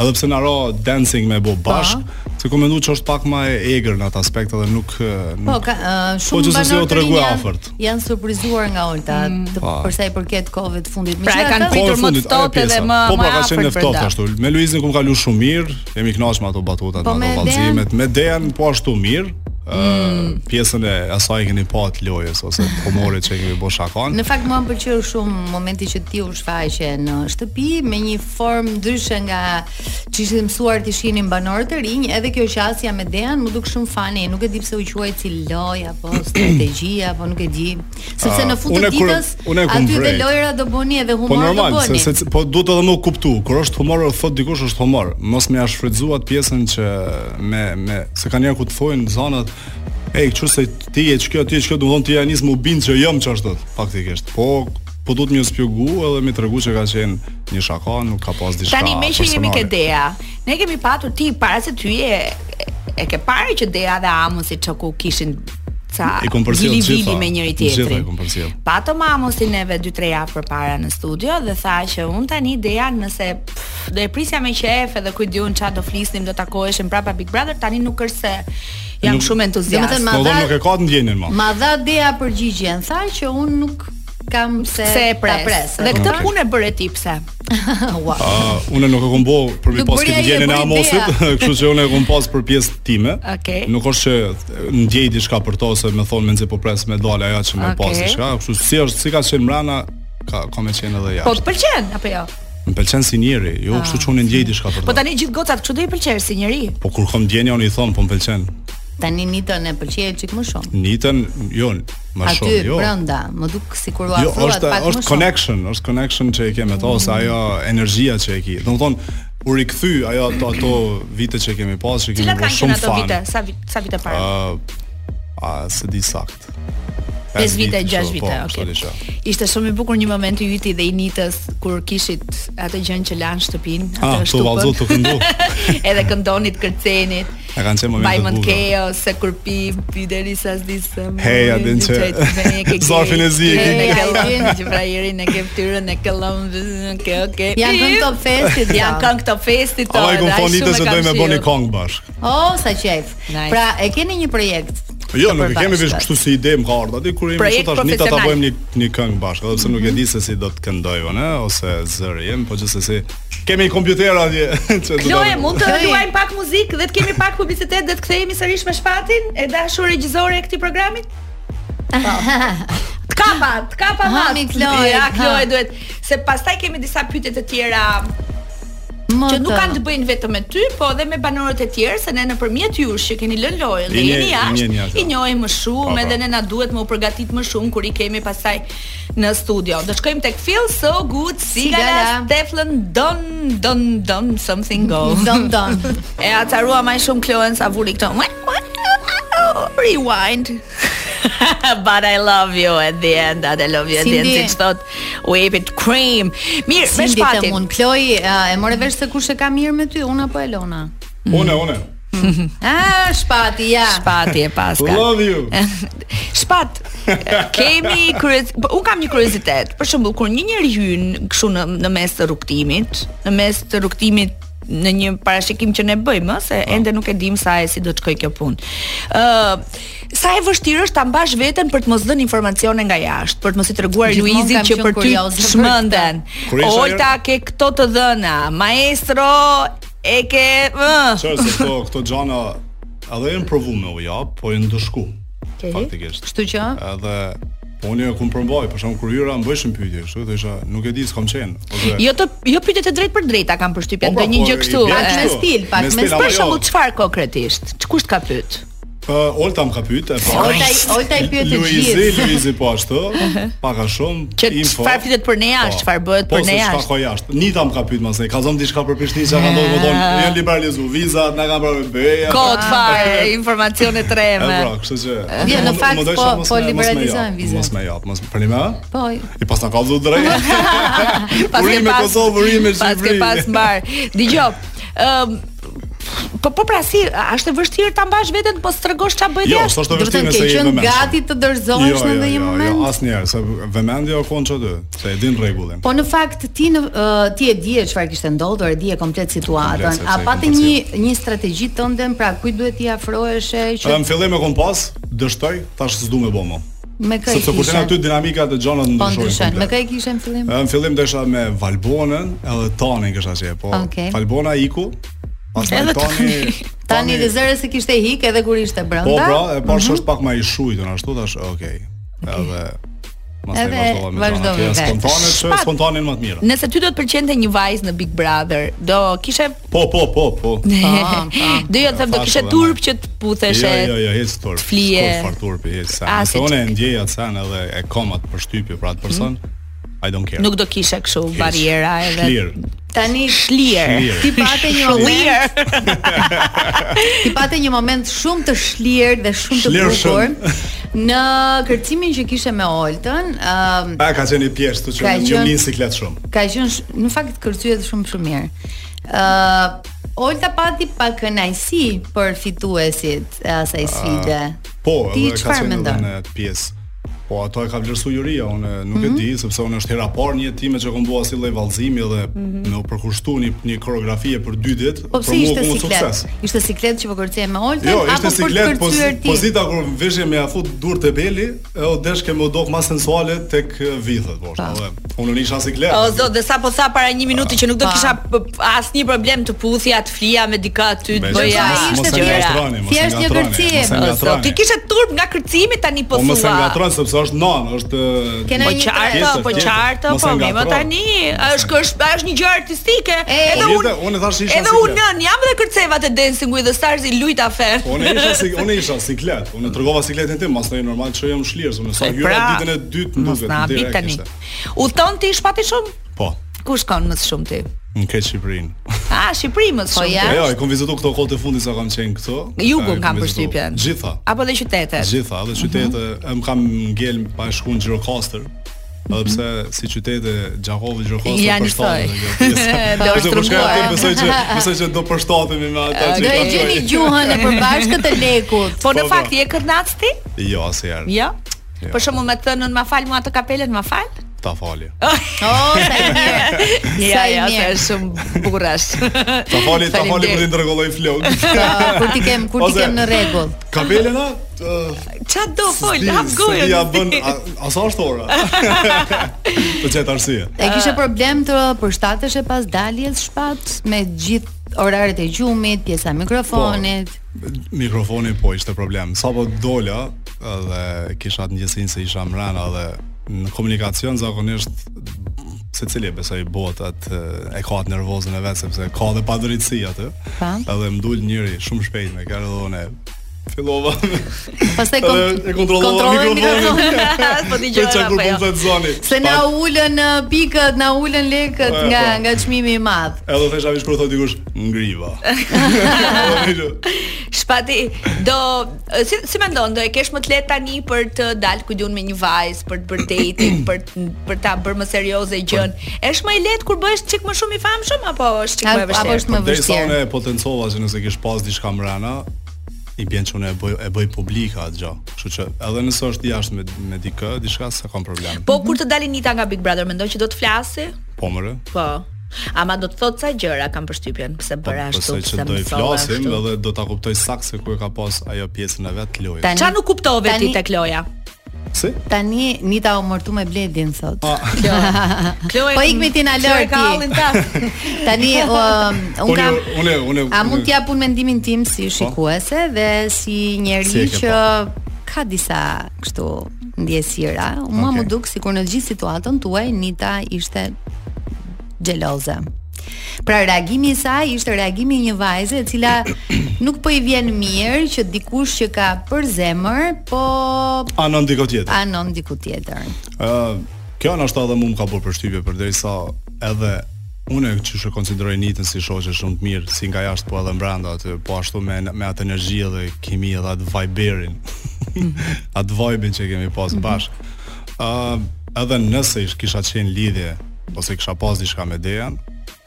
S4: edhe pse na ra dancing me bo
S5: Po.
S4: bashk, se ku mendu që është pak më e egër në atë aspekt edhe nuk eh,
S5: Po,
S4: nuk
S5: ka, uh,
S4: Po,
S5: shumë
S4: që se
S5: banorë
S4: o
S5: të
S4: tregu
S5: rinj
S4: e
S5: janë,
S4: afërt.
S5: janë surprizuar nga Olta të,
S4: Po.
S5: për sa i përket kohëve të fundit.
S2: Mm. Pra, e
S5: Megjithatë,
S2: kanë
S5: ka-
S2: prit- pritur
S4: Kohë
S2: më të
S4: fundit, ajo
S2: ftohtë
S4: pjesa.
S2: dhe më-
S4: po,
S2: më
S4: pra, ka qenë
S2: afërt
S4: e ftohtë
S2: brenda.
S4: ashtu. Me Luizin kum kalu shumë mirë, jemi kënaqur me ato batutat,
S5: Po,
S4: me
S5: me
S4: ato vallëzimet, me Dejan po ashtu mirë. Mm. pjesën e asaj keni pa atë lojës ose humorit që kemi bërë shakon.
S5: Në fakt mua më pëlqeu shumë momenti që ti u shfaqe në shtëpi me një formë ndryshe nga që ishte mësuar të shihnin banorët e rinj, edhe kjo qasja me Dean më duk shumë fani, nuk e di pse u quaj si loj apo strategji apo nuk e di. Sepse
S4: Ah,
S5: në fund të
S4: une kur-
S5: ditës
S4: une kum
S5: aty dhe
S4: vrejt.
S5: lojra do bëni edhe
S4: Po
S5: humor do
S4: normal, se,
S5: bëni.
S4: se po duhet edhe më u kuptu. Kur është humor, edhe thot dikush është humor. Mos më ja shfrytzuat pjesën që me me se kanë njerë ku të thojnë zonat Ej, kështu se ti je ç'kjo, ti je ç'kjo, domthon ti ja nis më bind që jam ç'është thot, faktikisht. Po po duhet më shpjegu edhe më tregu që ka qenë një shaka, nuk ka pas diçka.
S2: Tani me që jemi
S4: personale.
S2: ke Dea, ne kemi patur ti para se ty e e ke parë që Dea dhe Amos si çku kishin ca
S4: I kom përsjell
S2: vili
S4: gjitha,
S2: me njëri
S4: gjitha
S2: tjetrin.
S4: i kom përsjell.
S2: Patëm Amosin neve 2-3 javë përpara në studio dhe tha që un tani Dea nëse pff, do e prisja me qef edhe kujt diun çfarë do flisnim, do takoheshim prapa Big Brother, tani nuk është se jam
S4: Nuk-
S2: shumë entuziast.
S5: Domethënë, ma
S4: Po
S5: dha-
S4: do nuk e ka të ndjenjën më.
S5: Ma dha Dea përgjigjen, tha që unë nuk kam se,
S2: se e pres.
S5: ta pres.
S2: Dhe këtë
S4: Okej.
S2: punë e bëre ti pse?
S5: wow.
S4: Uh, unë nuk e kom bo për mi
S5: Nuk
S4: pas
S5: bëri
S4: këtë
S5: ai, e
S4: ndjenjën e
S5: bëri
S4: Amosit, kështu që unë e kom pas për pjesë time.
S2: Okej.
S4: Nuk është që ndjej diçka për to se më thon menzi po pres me dalë ajo që më pas
S2: Okej.
S4: diçka, kështu si është si ka qenë mbrana ka ka më qenë edhe
S2: Po
S4: jashtë.
S2: të pëlqen apo jo?
S4: Më pëlqen si njeri, jo kështu që unë ndjej diçka për
S2: Po
S4: to.
S2: tani gjithë gocat kështu do i pëlqer si njëri.
S4: Po kur kam ndjenjë unë i thon po më pëlqen.
S5: Tani Nitën e pëlqej çik më shumë.
S4: Nitën, jo, më
S5: Aty
S4: shumë, jo.
S5: brenda, më duk sikur u
S4: Jo,
S5: afrohet
S4: është
S5: pak më
S4: është
S5: shumë.
S4: connection, është connection që e ke me to ose ajo energjia që e ke. Domethënë u rikthy ajo ato, ato vite që kemi pas, që kemi
S2: Cilat
S4: bërë
S2: kanë qenë
S4: shumë
S2: ato vite?
S4: fan.
S2: Sa vite, sa vite para?
S4: Ë, a se di sakt.
S2: Pesë
S4: Pesë
S2: vite,
S4: kështu,
S2: gjashtë vite,
S4: po, kështu diçka.
S2: okay. Ishte shumë i bukur një moment i yti dhe i nitës kur kishit atë gjën që lan shtëpinë,
S4: Ah,
S2: atë
S4: tu vallzo tu këndu.
S2: Edhe këndonit, kërcenit.
S4: A kanë qenë momente të
S2: Bajmën
S4: bukura.
S2: Chaos, se kur pi pi deri sa s'disë.
S4: Hej, a din që- Zafin e zi e ke.
S2: Ne
S5: Hej, a din.
S2: kalojmë Gjibrajerin, ne ke fytyrën, ne këllëm. Okej, okej.
S5: Janë këngë top festit,
S2: Janë
S5: këngë.
S2: këngë këto festit.
S4: Ama i kom
S2: edhe
S4: thonë
S2: ai shumë
S4: nitës
S2: e
S4: se
S2: kam
S4: dojmë me bëni
S2: shijuar.
S4: kong bashk.
S5: Oh, sa qejf.
S2: Nice.
S5: Pra, e keni një projekt.
S4: Jo,
S5: të
S4: nuk e kemi vesh
S5: përbashkët.
S4: kështu si ide më ka ardhur. Aty kur jemi
S2: Projekt
S4: kështu tash nita ta
S2: profesional.
S4: bëjmë një një këngë bashkë, edhe pse nuk e di se si do të këndoj unë ose zëri im, po gjithsesi kemi kompjuter atje që do ta-
S2: Kloe, mund të
S5: Kloe.
S2: luajmë pak muzikë dhe të kemi pak publicitet dhe të kthehemi sërish me shpatin e dashur regjizore e këtij programi? Të kapa, të kapa
S5: Ha,
S2: mat.
S5: mi Kloe,
S2: Ja,
S5: ha.
S2: Kloe duhet se pastaj kemi disa pyetje të tjera
S5: Më
S2: që nuk kanë të bëjnë vetëm me ty, po edhe me banorët e tjerë, se ne nëpërmjet jush që keni lënë lojën
S4: I
S2: dhe
S4: nje-
S2: jeni
S4: i njeh
S2: jashtë,
S4: jashtë,
S2: i njohim më
S4: Po,
S2: shumë,
S4: po.
S2: edhe ne na duhet më u përgatit më shumë kur i kemi pastaj në studio. Do shkojmë tek Feel So Good, Sigala,
S5: Sigala.
S2: Stefan Don Don Don Something Go.
S5: Don don.
S2: E acarua më shumë Kloen sa vuri këto. Rewind. But I love you at the end. that I love you at the end.
S5: Cindy.
S2: Siç thot whipped cream. Mirë, me
S5: Cindi të
S2: shpatin.
S5: mund. Kloj, e more vesh se kush e ka mirë me ty, unë apo Elona?
S4: Une, une.
S5: Ah, shpati, ja.
S2: Shpati e paska.
S4: Love you.
S2: Shpat. Kemi kurioz, po, un kam një kuriozitet. Për shembull, kur një njeri hyn kështu në në mes të rrugtimit, në mes të rrugtimit në një parashikim që ne bëjmë, ë, se
S5: Ah.
S2: ende nuk e dim sa e si do të shkojë kjo punë. Ë, sa e vështirë është ta mbash veten për të mos dhënë informacione nga jashtë, për të mos i treguar
S5: Gjithmonë
S2: Luizit
S5: kam
S2: që
S5: qenë
S2: për ty
S5: kurioze për
S2: shmënden.
S4: Kur isha jo-
S2: Olta
S4: herë-
S2: ke këto të dhëna, maestro e ke ë.
S4: Çfarë se këto këto xhana edhe janë provu me u jap, po janë ndëshku.
S2: Okej.
S4: Faktikisht.
S5: Kështu që
S4: Edhe po unë e kum përmbaj, për shkak kur hyra më bëshën pyetje, kështu dhe isha, nuk e di s'kam qenë. Ose
S2: Jo të jo pyetje të drejtë për drejta kam përshtypjen,
S4: Po, po,
S2: ndonjë
S4: po,
S2: gjë
S4: i
S2: kështu.
S4: bjen
S2: ë.
S5: Pak eh, me
S4: kështu.
S5: stil, pak me
S4: stil,
S5: stil,
S4: ama
S2: Për
S4: jo,
S2: shembull çfarë konkretisht? Ç- Kush të ka pyet?
S4: Uh, Olta më ka pyet e para.
S5: Olta i- Olta i pyet të
S4: Luizi,
S5: gjithë.
S4: Luizi po ashtu, pak a shumë
S2: Që çfarë flitet për ne jashtë, çfarë bëhet për ne
S4: Po se
S2: jashtë.
S4: çfarë ka jashtë. Nita më ka pyet më se ka thënë diçka për Prishtinë, çka ka ndodhur, më thonë,
S2: Ah.
S4: janë liberalizu vizat, na kanë bërë BE.
S2: Kot fare informacione të
S4: E
S2: rreme.
S4: pra, kështu që.
S5: Jo, në
S4: Më- më
S5: fakt,
S4: dojsha
S5: po-
S4: mos
S5: po
S4: me- mos me
S5: liberalizojnë
S4: jap,
S5: vizat.
S4: Mos më jap, mos për më.
S5: Po,
S4: I pas na ka vënë drejt.
S2: Pas
S4: Urime Kosovë, urime
S2: Pas ke
S4: Shqipëri.
S2: pas mbar. Dgjoj. Ëm Po po pra si, a- është e vështirë ta mbash veten, po s'tregosh ç'a bëhet
S4: Jo,
S2: jashtë.
S4: s'është e
S5: do të
S4: vështirë
S5: thënë
S4: nëse
S5: ke
S4: je
S5: qenë
S4: vëmendshëm.
S5: gati të
S4: Jo,
S5: dorëzohesh në ndonjë moment.
S4: asnjëherë, se jo vëmendja o konë që aty, se e din rregullin.
S5: Po në fakt ti në uh, ti e di çfarë kishte ndodhur, e di e komplet
S4: Komplet,
S5: situatën.
S4: sepse
S5: A
S4: e
S5: patë
S4: kam
S5: një një strategji tënde, pra kujt duhet ti afroheshe që
S4: Edhe Pra, në fillim e kom pas, dështoj, tash s'du me bomo.
S5: me kë e
S4: Sepse kur
S5: kishe?
S4: janë aty dinamika të gjanat
S5: Po
S4: ndryshojnë.
S5: ndryshon. Me
S4: komplet.
S5: kë e kishe në fillim?
S4: Edhe Në fillim desha me Valbonën, edhe Tanin kisha qenë, po
S5: Okej.
S4: Valbona iku, pastaj
S2: Edhe
S4: Tani
S5: Tani dhe Mhm. zëre se kishte hik edhe kur ishte brenda.
S4: Po pra, e pash është pak më i shujtën ashtu tash, okay. Edhe pastaj
S5: Edhe
S4: vazhdova me Gjanat.
S5: vazhdove
S4: Janë
S5: vetë.
S4: Spontane, që
S2: Shpat.
S4: spontanin më të mirë.
S2: Nëse ty do të pëlqente një vajzë në Big Brother, do kishe
S4: Po, po, po, po.
S2: do jo të them do
S4: Thash
S2: kishe
S4: edhe
S2: turp
S4: më.
S2: që të putheshe.
S4: Jo, jo, jo, hiç turp.
S2: flije.
S4: S'ka far turp, hiç sa.
S5: Ah,
S2: A,
S4: Nëse
S2: si
S4: unë e
S2: çik.
S4: ndjej atë sen edhe e kam atë përshtypje për atë person,
S5: Mhm.
S4: I don't care.
S2: Nuk do kishe kështu barriera edhe
S4: Clear.
S5: Tani
S2: shlier.
S4: Clear.
S5: ti pate një moment,
S2: Shlier.
S5: ti pate një moment shumë të shlier dhe shumë të bukur
S4: Shlirshëm.
S5: në kërcimin që kishe me Oltën, ëm
S4: A ka qenë një pjesë të
S5: Ka
S4: që që
S5: qenë-
S4: mlin siklet shumë.
S5: ka qenë sh- në fakt kërcyet shumë shumë mirë. Ë Olta pati pa kënaqësi për fituesit e asaj sfide.
S4: Po,
S5: Ti
S4: edhe ka
S5: çfarë
S4: qenë edhe
S5: mendon?
S4: në atë pjesë. Po ato e ka vlerësu juria, unë nuk
S5: Mhm.
S4: e di sepse unë është hera parë një time që kom bua si lloj vallëzimi dhe më u përkushtu një, një koreografie për dy ditë,
S5: Mhm. Po pse
S4: për mua
S5: ishte
S4: ku më
S5: siklet? Ishte siklet që po kërcej me Oltën
S4: Jo,
S5: apo
S4: ishte
S5: për të
S4: siklet,
S5: kërcyer
S4: poz-
S5: ti?
S4: pozita kur veshje me afut dur te beli, e o desh më dok ma sensuale tek eh, vithet, po.
S5: Pa.
S4: edhe Unë nuk isha siklet.
S2: O zot, dhe sa po tha para një minuti që nuk do kisha p- p- asnjë problem të puthja, të flija me dika aty, të
S4: Besoj
S2: bëja.
S5: se ishte
S4: mos e
S5: gjëra.
S4: ngatroni, mos e
S5: Thjesht një
S4: ngatroni,
S5: kërcim.
S4: mos e
S5: O,
S2: O,
S4: ngatroni.
S2: zot, ti kishe turp nga kërcimi tani po
S4: Po mos e
S2: thua.
S4: ngatron sepse është non, është
S5: Kena
S2: Po
S5: një
S2: qartë,
S4: tjetër,
S2: po
S4: tjetër.
S2: qartë,
S4: Mos e
S2: po mi më
S4: ngatron.
S2: tani. Është kë- është është një gjë artistike.
S5: E,
S2: Edhe
S4: po,
S2: unë
S4: jete, unë thash isha
S2: Edhe
S4: siklet.
S2: unë nën jam dhe kërceva të Dancing with the Stars i lujta fen.
S4: Po, Unë isha si unë isha siklet, unë tregova sikletin tim, mos ndonjë normal që jam shlirës, unë sa hyra ditën e dytë
S2: pra, mos
S4: nduket
S2: na habit
S4: direkt
S2: tani.
S4: ishte.
S2: Udhton ti shpati shumë?
S4: Po,
S2: Ku shkon më shumë ti? Po
S4: në këtë Shqipërinë.
S2: A, Ah, Shqipëri më shumë.
S5: ja.
S4: E
S2: ti?
S4: jo, e kom vizituar këto kohë të fundit sa kam qenë këto.
S2: Jugun
S4: E,
S2: kam
S4: vizitu
S2: përshtypjen. Mhm.
S4: Gjitha.
S2: Apo dhe qytetet.
S4: Gjitha, edhe qytete, em kam ngel pa shku në Gjirokastër. Edhe pse si qytete Gjakovi Gjirokastër
S2: Mhm. Janë
S4: përshtatet
S2: njësoj.
S4: kjo pjesë.
S2: Do
S4: Sepse po shkoj aty,
S5: shtrënguar.
S4: Besoj që besoj që do përshtatemi me ata që
S5: Do e
S4: kanë
S5: gjeni
S4: qenë.
S5: gjuhën e përbashkët të lekut.
S2: Po në
S4: Po, po.
S2: fakt je këtnac ti?
S4: Jo, asnjëherë.
S2: Jo.
S4: Jo.
S2: Për shembull me thënën ma fal mua atë kapelen ma fal.
S4: Ta fali.
S2: Oh,
S5: O, sa e mirë.
S2: Ja,
S5: Sa i
S2: ja,
S5: mirë.
S2: se është shumë burrash.
S4: Ta fali, ta fali
S2: Faleminderit.
S4: për të ndërkolloj flok.
S5: Po, Kur ti kem, kur ti
S4: Ose-
S5: kem në rregull.
S4: Kapelen a?
S2: Qa do fol, hap
S4: Ti ja bën
S2: gojën.
S4: a- a sa është ora? Të çet arsye.
S5: E kishe problem të përshtatesh e pas daljes shpat me gjithë oraret e gjumit, pjesa e mikrofonit.
S4: Po. Mikrofoni po ishte problem. Sapo dola dhe kisha të ndjesinë se isha mrena dhe në komunikacion zakonisht se cili besoj bot atë e ka atë nervozën e vetë sepse ka dhe pa drejtësi aty.
S5: Pa.
S4: Edhe më dul njëri shumë shpejt me kërë dhe unë e fillova
S5: Pastaj kon
S4: edhe e kontrollova
S5: kontrolloj
S4: mikrofonin.
S2: Po ti
S4: Për çka
S2: gjëra
S4: kur
S2: po jo.
S4: komplet zoni.
S5: Se na ulën uh, pikët, na ulën lekët
S4: Po, e,
S5: nga
S4: po.
S5: nga çmimi i madh.
S4: Edhe thesha vish kur thot dikush ngriva.
S2: Shpati, do si si mendon, do e kesh më të lehtë tani për të dalë ku diun me një vajzë, për të bërë dating, për të- për ta bërë më serioze gjën. Është më e lehtë kur bëhesh çik më shumë i famshëm apo është çik
S5: A-
S2: më e
S5: Apo
S2: vështirë?
S5: është më
S4: Derisa unë
S5: vështirë.
S4: e potencova që nëse kish pas diçka mrena, i bën që unë e bëj e bëj publike atë gjë. Kështu që edhe nëse është jashtë me me dikë, diçka s'ka kam problem.
S2: Po kur të dalin Nita nga Big Brother, mendon që do të flasi?
S4: Po mëre.
S2: Po. Ama do të thotë sa gjëra kam përshtypjen, pse
S4: Po
S2: bëra ashtu,
S4: besoj
S2: pse
S4: që do i
S2: mësova
S4: flasim
S2: ashtu.
S4: edhe do ta kuptoj saktë se ku e ka pas ajo pjesën e vet lojë.
S5: Tani-
S2: Qa nuk kuptove ti
S5: Tani-
S2: tek loja?
S4: Si?
S5: Tani Nita u mërtu me Bledin sot.
S2: Kloe
S5: Po ikmi ti na lër
S2: Kloe ka
S5: ti.
S2: hallin tas.
S5: Tani um, un
S4: Unë
S5: kam
S4: unë unë
S5: A mund t'jap unë mendimin tim si shikuese dhe si
S4: Po. Si e
S5: njeri
S4: ke po?
S5: që ka disa kështu ndjesira. Mua
S4: Okej.
S5: më duk sikur në gjithë situatën tuaj Nita ishte xheloze. Pra reagimi i saj ishte reagimi i një vajze e cila nuk po i vjen mirë që dikush që ka për zemër, po
S4: Anon diku tjetër.
S5: anon diku tjetër.
S4: Ë, kjo ndoshta edhe mua më ka bërë përshtypje përderisa edhe unë që shë konsideroj nitën si shoqe shumë të mirë, si nga jashtë po edhe mbrenda aty, po ashtu me me atë energji edhe kimi edhe atë viberin.
S5: Mhm.
S4: atë vibe-in që kemi pas bashkë. Ë, edhe nëse ish kisha qenë lidhje ose kisha pas diçka me Dejan,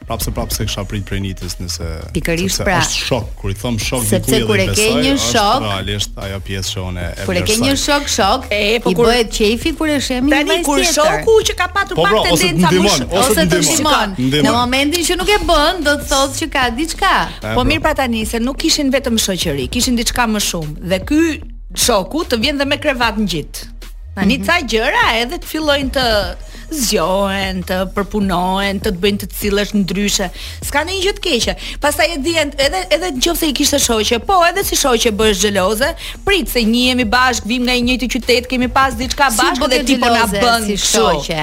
S4: prapse prapse kisha prit prej nitës nëse
S5: Pikërisht
S4: sepse
S5: pra.
S4: është shok kur i thom shok
S5: Sepse
S4: dikujt
S5: kur e ke një shok-
S4: realisht ajo pjesë që unë e
S5: Kur e ke
S4: vlerësoj.
S5: një shok shok,
S2: E, po
S5: i
S2: kur-
S5: bëhet qefi kur e shemi një
S2: Tani
S5: vajzë
S2: kur
S5: tjetër.
S2: shoku që ka patur
S4: Po,
S2: pak
S4: bra, ose
S2: tendenca
S4: të ndihmon,
S2: shok-
S4: ose
S5: ose të
S4: ndihmon.
S5: shimon.
S4: Ndihmon.
S5: Në momentin që nuk e bën, do të thotë që ka diçka.
S4: E,
S2: Po
S4: po.
S2: mirë pra tani se nuk kishin vetëm shoqëri, kishin diçka më shumë dhe ky shoku të vjen dhe me krevat në gjitë. Tani
S5: Mhm.
S2: ca gjëra edhe të fillojnë të zgjohen, të përpunohen, të të bëjnë të cilësh ndryshe. S'ka ndonjë gjë të keqe. Pastaj e dihen edhe edhe nëse i kishte shoqe, po edhe si shoqe bësh xheloze, prit se njihemi bashk, vim nga i njëjti qytet, kemi pas diçka bashkë
S5: bëhet
S2: dhe ti po na
S5: xheloze
S2: bën
S5: si
S2: kështu.
S5: shoqe.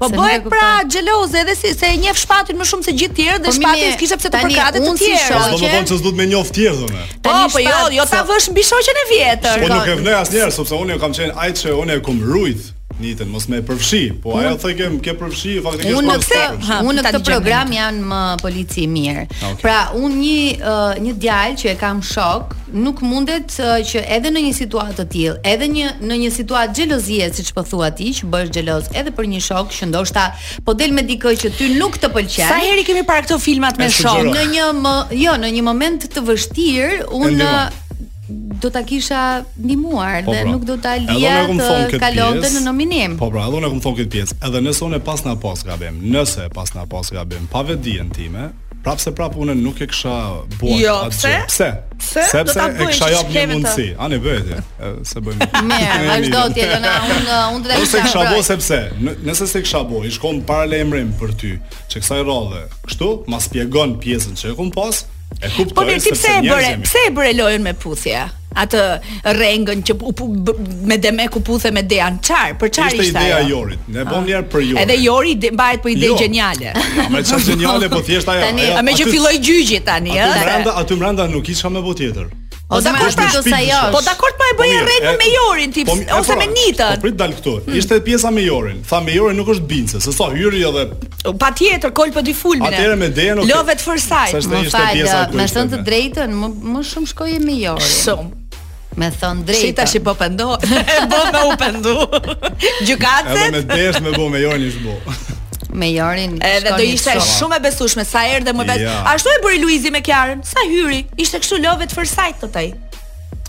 S2: Po
S5: Se nuk e
S2: bëhet
S5: kuptoj.
S2: pra xheloze edhe si se e njeh shpatin më shumë se gjithë tjerë dhe
S5: Po,
S2: shpati
S5: mimi,
S2: s'kishte pse të
S5: tani
S2: përkratet të
S5: unë si
S2: tjerë.
S5: shoqe,
S4: As do të thonë se s'duhet me njoft tjerë thonë.
S2: Po,
S5: Tani
S2: po jo,
S5: shpat,
S2: jo ta
S5: se-
S2: vësh mbi shoqen e vjetër.
S4: Po nuk e vnej asnjëherë sepse unë kam qenë ai që unë e kam rujt nitën, mos më e përfshi. Po ajo thë kem ke përfshi faktikisht
S5: Unë në
S4: po
S5: këtë,
S4: s'ka përfshi.
S2: ha,
S5: unë në
S2: ta
S5: këtë
S2: dëgjojmë.
S5: program janë më polici i mirë.
S4: Ah, Okay.
S5: Pra, unë një ë, një djalë që e kam shok, nuk mundet ë, që edhe në një situatë të tillë, edhe një në një situatë xhelozie siç po thua ti, që bësh xheloz edhe për një shok që ndoshta po del me dikë që ty nuk të pëlqen.
S2: Sa herë kemi parë këto filmat me
S4: E
S2: shok?
S4: sugjeroj.
S5: në një më, jo, në një moment të vështirë, unë
S4: ndihmon.
S5: do ta kisha ndihmuar
S4: Po,
S5: dhe
S4: pra.
S5: nuk do ta
S4: Edhe
S5: lija
S4: unë e kam thonë
S5: të
S4: këtë
S5: kalonte
S4: pjesë.
S5: në nominim.
S4: Po pra, edhe unë e kam thonë këtë pjesë. Edhe nëse unë e pas na pas gabim, nëse e pas na pas gabim, pa vetdijen time, prapë se prapë unë nuk e kisha bërë
S2: Jo,
S4: atë
S2: pse?
S4: gjë. Pse?
S2: Pse? Do
S4: Sepse
S2: ta
S4: e
S2: bëjnë
S4: kisha
S2: që
S4: jap një
S2: shkeve të-
S4: mundësi. Ani bëhet. e, e, Se bëjmë.
S5: Mirë,
S4: Me
S5: vazhdo
S4: lidhjen.
S5: ti Elona, unë unë do ta
S4: Nëse
S5: kisha.
S4: kisha bo
S5: mbrojt.
S4: sepse, në- nëse se kisha bo, i shkon para lajmërim për ty, që kësaj radhe, kështu, ma spjegon pjesën që e kum pas, e kuptoj
S2: Po mirë, ti pse e
S4: njerëz
S2: bëre?
S4: jemi.
S2: Pse e bëre lojën me puthje? Atë rrengën që u pu- b- me Demek u puthe me Dean Çar, për çfarë
S4: Ishte
S2: ishte
S4: ideja
S2: ajo? Ah.
S4: Jorit. Ne bëm një herë për Jorin.
S2: Edhe jo- Jori ide- mbahet për ide
S4: Jo.
S2: geniale.
S4: Ja, Me çfarë geniale po thjesht ajo.
S5: Tani-
S4: ajo-
S2: A me që
S4: aty-
S2: filloi gjyqi tani,
S4: Aty
S2: ë?
S4: mbrenda, aty mbrenda nuk isha me bot tjetër.
S5: O,
S2: dakord,
S5: dakord,
S2: pra-
S5: do sa josh.
S2: Po dakord, po e bëj
S4: mirë,
S2: rregull
S4: e-
S2: me Jorin ti,
S4: po mi- e
S2: ose
S4: pra,
S2: me Nitën.
S4: Po prit dal këtu. Ishte pjesa me Jorin. Tha me Jorin nuk është bince, se sa hyri edhe
S2: Patjetër kol po di fulmin.
S4: atëherë me Dejan. okay.
S2: Love at first sight.
S4: Sa ishte
S5: Më
S4: ishte
S5: fal,
S4: pjesa ku
S5: me
S4: ishte
S5: thënë të
S4: me-
S5: drejtën, më, më shumë shkoje me Jori.
S2: Shumë.
S5: Me thënë
S2: Si
S5: drejtën.
S2: tash i po pendo. E bo me u pendu.
S4: Edhe me
S2: Gjykatët.
S4: desh me bo me Jorin ish bo.
S5: Me Jorin.
S2: Edhe do
S5: shkoni
S2: ishte
S4: Po,
S5: shumë.
S2: shumë e besueshme sa erdhe më vetë.
S4: Ja.
S2: Ashtu e bëri Luizi me Kiarën. Sa hyri, ishte kështu love at first sight thot ai.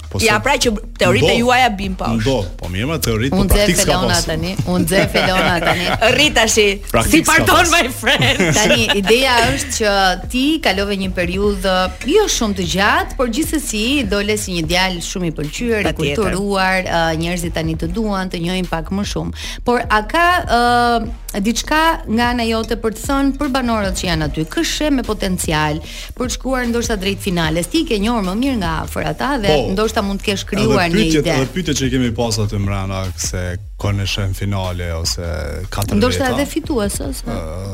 S4: Po
S2: Ja
S4: se-
S2: pra që teoritë
S4: Ndo.
S2: juaja bin pa. është.
S4: Ndo, po mirë më teoritë, po
S5: Unë nxe
S4: praktikë s'ka
S5: Felona
S4: pas.
S5: tani, unë nxe Felona tani.
S2: Rri tash.
S4: Praktik
S2: Si
S4: s'ka
S2: pardon
S4: pas.
S2: my friend.
S5: Tani ideja është që ti kalove një periudhë jo shumë të gjatë, por gjithsesi dole si një djalë shumë i pëlqyer, i
S2: Patjetër.
S5: kulturuar, uh, njerëzit tani të duan, të njohin pak më shumë. Por a ka uh, diçka nga ana jote për të thënë për banorët që janë aty, këshë me potencial për të shkuar ndoshta drejt finales. Ti ke njohur më mirë nga afër ata dhe
S4: Po.
S5: ndoshta mund të kesh krijuar një
S4: pyetjet-
S5: ide.
S4: Edhe pyetjet që i kemi pas aty mbrana se kanë shën finale ose katër
S5: Ndoshta
S4: veta.
S5: edhe fitues ose
S4: Ah.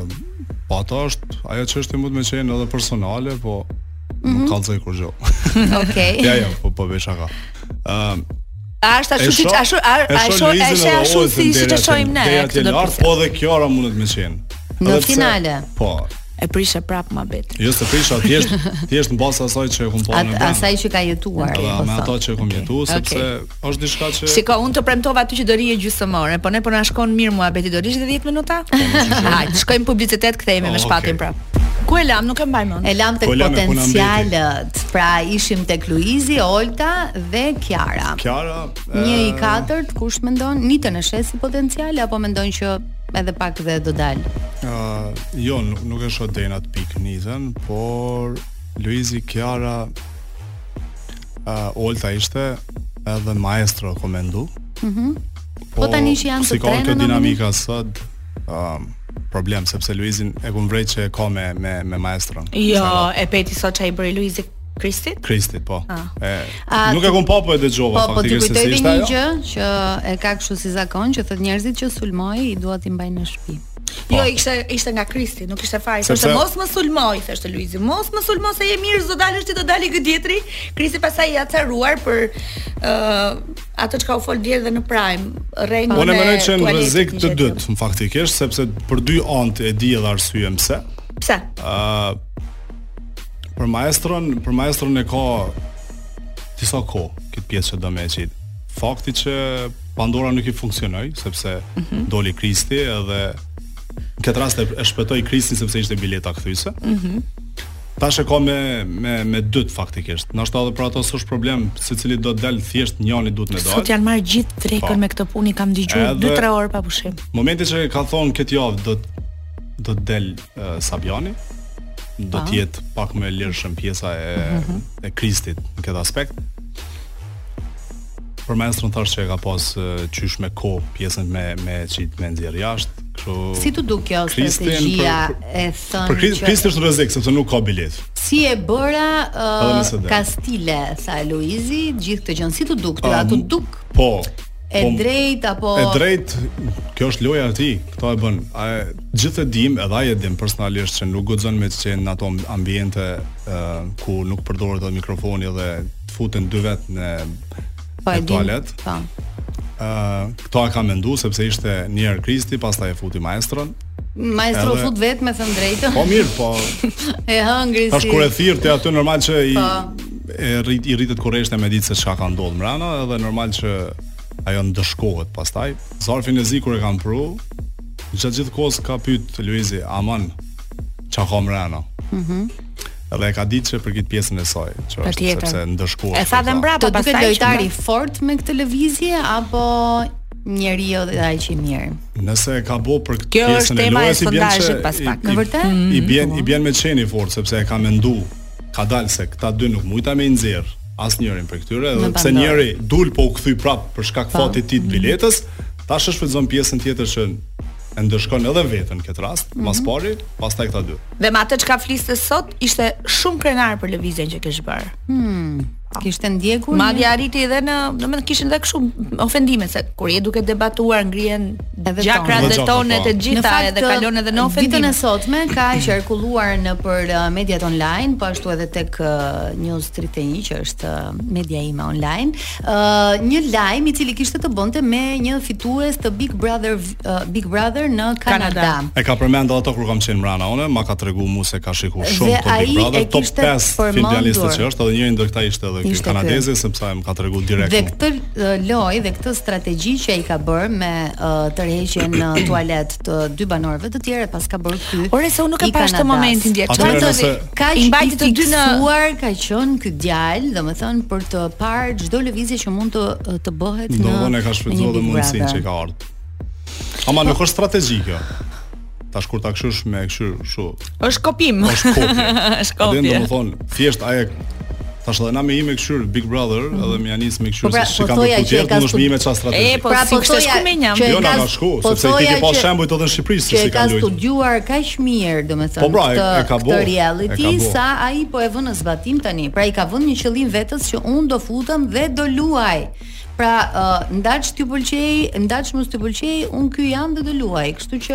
S4: Po ato është ajo çështje mund të më qenë edhe personale, po
S2: Mhm.
S4: nuk kallzoj kur gjë.
S5: Okej.
S4: ja, ja, po po bëj shaka. Ëm,
S2: A është
S4: e
S2: ashtu siç
S4: shoh-
S2: ashtu a
S4: shoh
S2: a shoh- a
S4: Luizin
S2: është
S4: edhe
S2: ashtu
S4: Olsen
S2: si siç e
S4: deri atje-
S2: shohim ne
S4: deri atje
S2: këtë në
S4: lart,
S2: pjesë.
S4: po edhe kjo ora mundet më qenë.
S5: Në
S4: Edhe pse-
S5: finale.
S4: Po.
S2: E prishe prap muhabet.
S4: Jo se prisha thjesht thjesht mbas asaj që e kum parë.
S5: At,
S4: në brand.
S5: asaj që ka jetuar.
S4: Edhe
S5: po
S4: me
S5: thon.
S4: po, ato që e kum jetu, sepse është diçka që
S2: Shiko, unë të premtova aty që do rije gjysmore, po ne po na shkon mirë muhabeti, do rishte 10 minuta?
S4: Po,
S2: Hajt, shkojmë publicitet, kthehemi me
S4: Oh,
S2: shpatin
S4: okay.
S2: prap. Ku e lam, nuk e mbaj mend.
S5: E lam tek
S4: Po, lame, ku na mbeti?
S5: potencialet. Pra ishim tek Luizi, Olta dhe Kiara.
S4: Kiara
S5: Një i
S4: e,
S5: katërt, kush mendon nitën e shes si potencial apo mendon që edhe pak dhe do dal?
S4: Uh, jo, nuk, nuk e shoh deri në atë pikë nitën, por Luizi Kiara uh, Olta ishte edhe maestro komendu. Mhm.
S5: Po tani që janë të
S4: si ka
S5: tre
S4: kjo
S5: në
S4: dinamika sot, um, problem sepse Luizin e kum vrejt që e ka me me me maestron.
S2: Jo,
S4: Sa-
S2: e peti sot çai bëri Luizi Kristit?
S4: Kristi, po. E,
S5: Ah. A,
S4: nuk
S5: ti-
S4: e kum pa po e
S5: Po,
S4: dëgjova
S5: po ti
S4: faktikisht se si
S5: kujtoj
S4: ishte
S5: një
S4: ajo.
S5: gjë që e ka kështu si zakon që thot njerëzit që sulmoi i duhet i mbajnë në shtëpi.
S2: Jo, ishte ishte nga Kristi, nuk ishte fare. Sepse...
S4: Po. Sepse-
S2: Thoshte mos më sulmoj, thoshte Luizi. Mos më sulmo se je mirë, do dalësh ti do dali ky dietri. Kristi pastaj i acaruar për ë atë çka u fol dje dhe në Prime, rrengën
S4: Unë mendoj që në
S2: tualetit,
S4: rrezik
S2: një
S4: të
S2: gjë
S4: dytë, në faktikisht, sepse për dy anë e di edhe arsyeën pse.
S2: tjetër. Pse?
S4: Ë për maestron, për maestron e ka disa kohë këtë pjesë që do më e qit. Fakti që Pandora nuk i funksionoi sepse doli Kristi edhe në këtë rast e e shpëtoi Kristin sepse ishte bileta kthyese. Tash e ka me me me dyt faktikisht. Nashta edhe për ato s'është problem, secili do të dalë thjesht njëri duhet me dalë.
S2: Sot janë marrë gjithë
S4: Po.
S2: trekën me këtë punë, i kam dëgjuar
S4: Edhe-
S2: 2-3 orë pa pushim.
S4: Momenti që ka thonë këtë javë do të do të del e, Sabjani, do të jetë pak më e lirshëm pjesa e
S5: Mhm.
S4: e Kristit në këtë aspekt. Për maestron thashë që e ka pas e, qysh me ko pjesën me me çit me nxjerr jashtë, kështu
S5: Si të duk kjo
S4: Kristin,
S5: strategjia
S4: për- për-
S5: e
S4: Për
S5: thënë
S4: Krist, Kristi është rrezik sepse nuk ka bilet.
S5: si e bëra
S4: Edhe
S5: uh,
S4: nëse del.
S5: Kastile, tha Luizi, gjithë këtë gjë si të duk, ty a të duk
S4: Po.
S5: e
S4: po,
S5: drejt apo
S4: E drejt, kjo është loja e tij. Kto e bën? A gjithë e dim, edhe ai e dim personalisht që nuk guxon me të qenë në ato ambiente ë, ku nuk përdoret edhe mikrofoni dhe të futen dy vet në
S5: po e
S4: në
S5: din?
S4: toalet.
S5: Po.
S4: ë këto e ka mendu sepse ishte një herë Kristi, pastaj e futi maestron.
S5: Maestro
S4: Edhe-
S5: fut vetë me thënë drejtën.
S4: Po mirë, po
S5: E hëngri
S4: tash
S5: si.
S4: kur e thirrte aty normal që i
S5: Po.
S4: e rrit i rritet kurreshte me ditë se çka ka ndodhur mbrana edhe normal që ajo ndëshkohet pastaj. Zarfin e zi kur e kanë pru, gjatë gjithë kohës ka pyet Luizi, aman çka ka mbrana. Mhm. edhe e ka ditë që për këtë pjesën e saj, që është
S2: Patjetër.
S4: sepse ndëshkohet.
S2: E tha dhe mbrapa
S5: Të duket
S2: pastaj. që
S5: lojtari fort me këtë lëvizje apo njeriu dhe ai që i mirë.
S4: Nëse e ka bo për këtë
S2: Kjo
S4: pjesën
S2: është
S4: e
S2: tema e
S4: lojës, i bjen se
S2: sondazhit pas pak.
S4: i-
S5: Në vërtet? Mm.
S4: I bjen i bjen me qeni fort sepse e ka mendu. Ka dalë se këta dy nuk mujta me i nxjerr asnjërin për këtyre, edhe pse
S5: Pandorë.
S4: njëri dul po u kthy prap
S5: Po.
S4: për shkak fatit të
S5: Mm.
S4: tij të biletës, tash e shfrytëzon pjesën tjetër që e ndëshkon edhe veten këtë rast,
S5: Mhm.
S4: mas pari, pastaj këta dy.
S2: Dhe me atë çka fliste sot, ishte shumë krenar për lëvizjen që kish bërë.
S5: Kishte ndjekur?
S2: Po. Madje arriti edhe në, domethënë kishin edhe kështu ofendime se kur je duke debatuar ngrihen
S5: Edhe
S2: gjakrat
S4: tonet.
S2: dhe tonet e gjitha edhe kalon edhe në
S5: Ditën
S2: ofendime.
S5: e sotme ka qarkulluar në për uh, mediat online, po ashtu edhe tek uh, News 31 që është uh, media ime online, uh, një lajm i cili kishte të bënte me një fitues të Big Brother uh, Big Brother në Kanada.
S2: Kanada.
S4: E ka përmend ato kur kam qenë mrena unë, ma ka tregu mu se ka shikuar shumë
S5: Dhe
S4: të Big
S5: ai
S4: Brother,
S5: e
S4: top
S5: kishte
S4: 5 finalistët
S5: përmendur.
S4: që është, edhe njëri ndër këta ishte edhe ky
S5: Ishte ky.
S4: kanadezi, sepse ai më ka tregu direkt.
S5: Dhe
S4: mu.
S5: këtë uh, loj dhe këtë strategji që ai ka bërë me uh, tërheqjen në tualet të dy banorëve të tjerë pas ka bërë ky.
S2: Ore se unë nuk e
S5: i
S2: pash të
S5: Kanadas.
S2: momentin dje.
S4: Atëherë
S2: Çfarë do
S4: nëse-
S5: Ka
S2: i mbajti të dy në
S5: fiksuar ka qenë ky djalë, domethënë për të parë çdo lëvizje që mund të të bëhet në.
S4: Ndodhën e
S5: në
S4: ka
S5: një
S4: shfrytzuar dhe
S5: Big
S4: mundësinë
S5: Brother.
S4: që ka ardhur. Ama nuk është strategji kjo. Tash kur ta këshysh me këshyr kështu,
S2: është kopim.
S4: është kopje.
S2: Është
S4: Dhe
S2: kopje.
S4: do të thonë, thjesht ajo tash edhe na me ime këshyr Big Brother edhe më janis me këshyr
S5: Po pra,
S4: se
S5: po
S4: çka do
S5: thoja
S4: të
S5: që e
S4: thotë,
S5: ka
S4: mund është me
S5: studi-
S4: ime çfarë strategji.
S2: E, po, si kishte
S5: thoja
S2: shku me një.
S5: Pra, që e
S4: Jo, na
S5: ka-
S4: ka shku,
S5: po
S4: sepse ti
S5: thoja
S4: ke pas
S5: që-
S4: shembujt edhe në Shqipëri se
S5: që
S4: si
S5: e ka
S4: kanë lojtë.
S5: studiuar kaq mirë, domethënë,
S4: Po pra, e- e ka bo,
S5: këtë reality
S4: e ka bo.
S5: sa ai po e vën në zbatim tani. Pra i ka vënë një qëllim vetes që unë do futem dhe do luaj. Pra, uh, ndaç ti pëlqej, ndaç mos ti pëlqej, unë ky jam dhe do luaj. Kështu që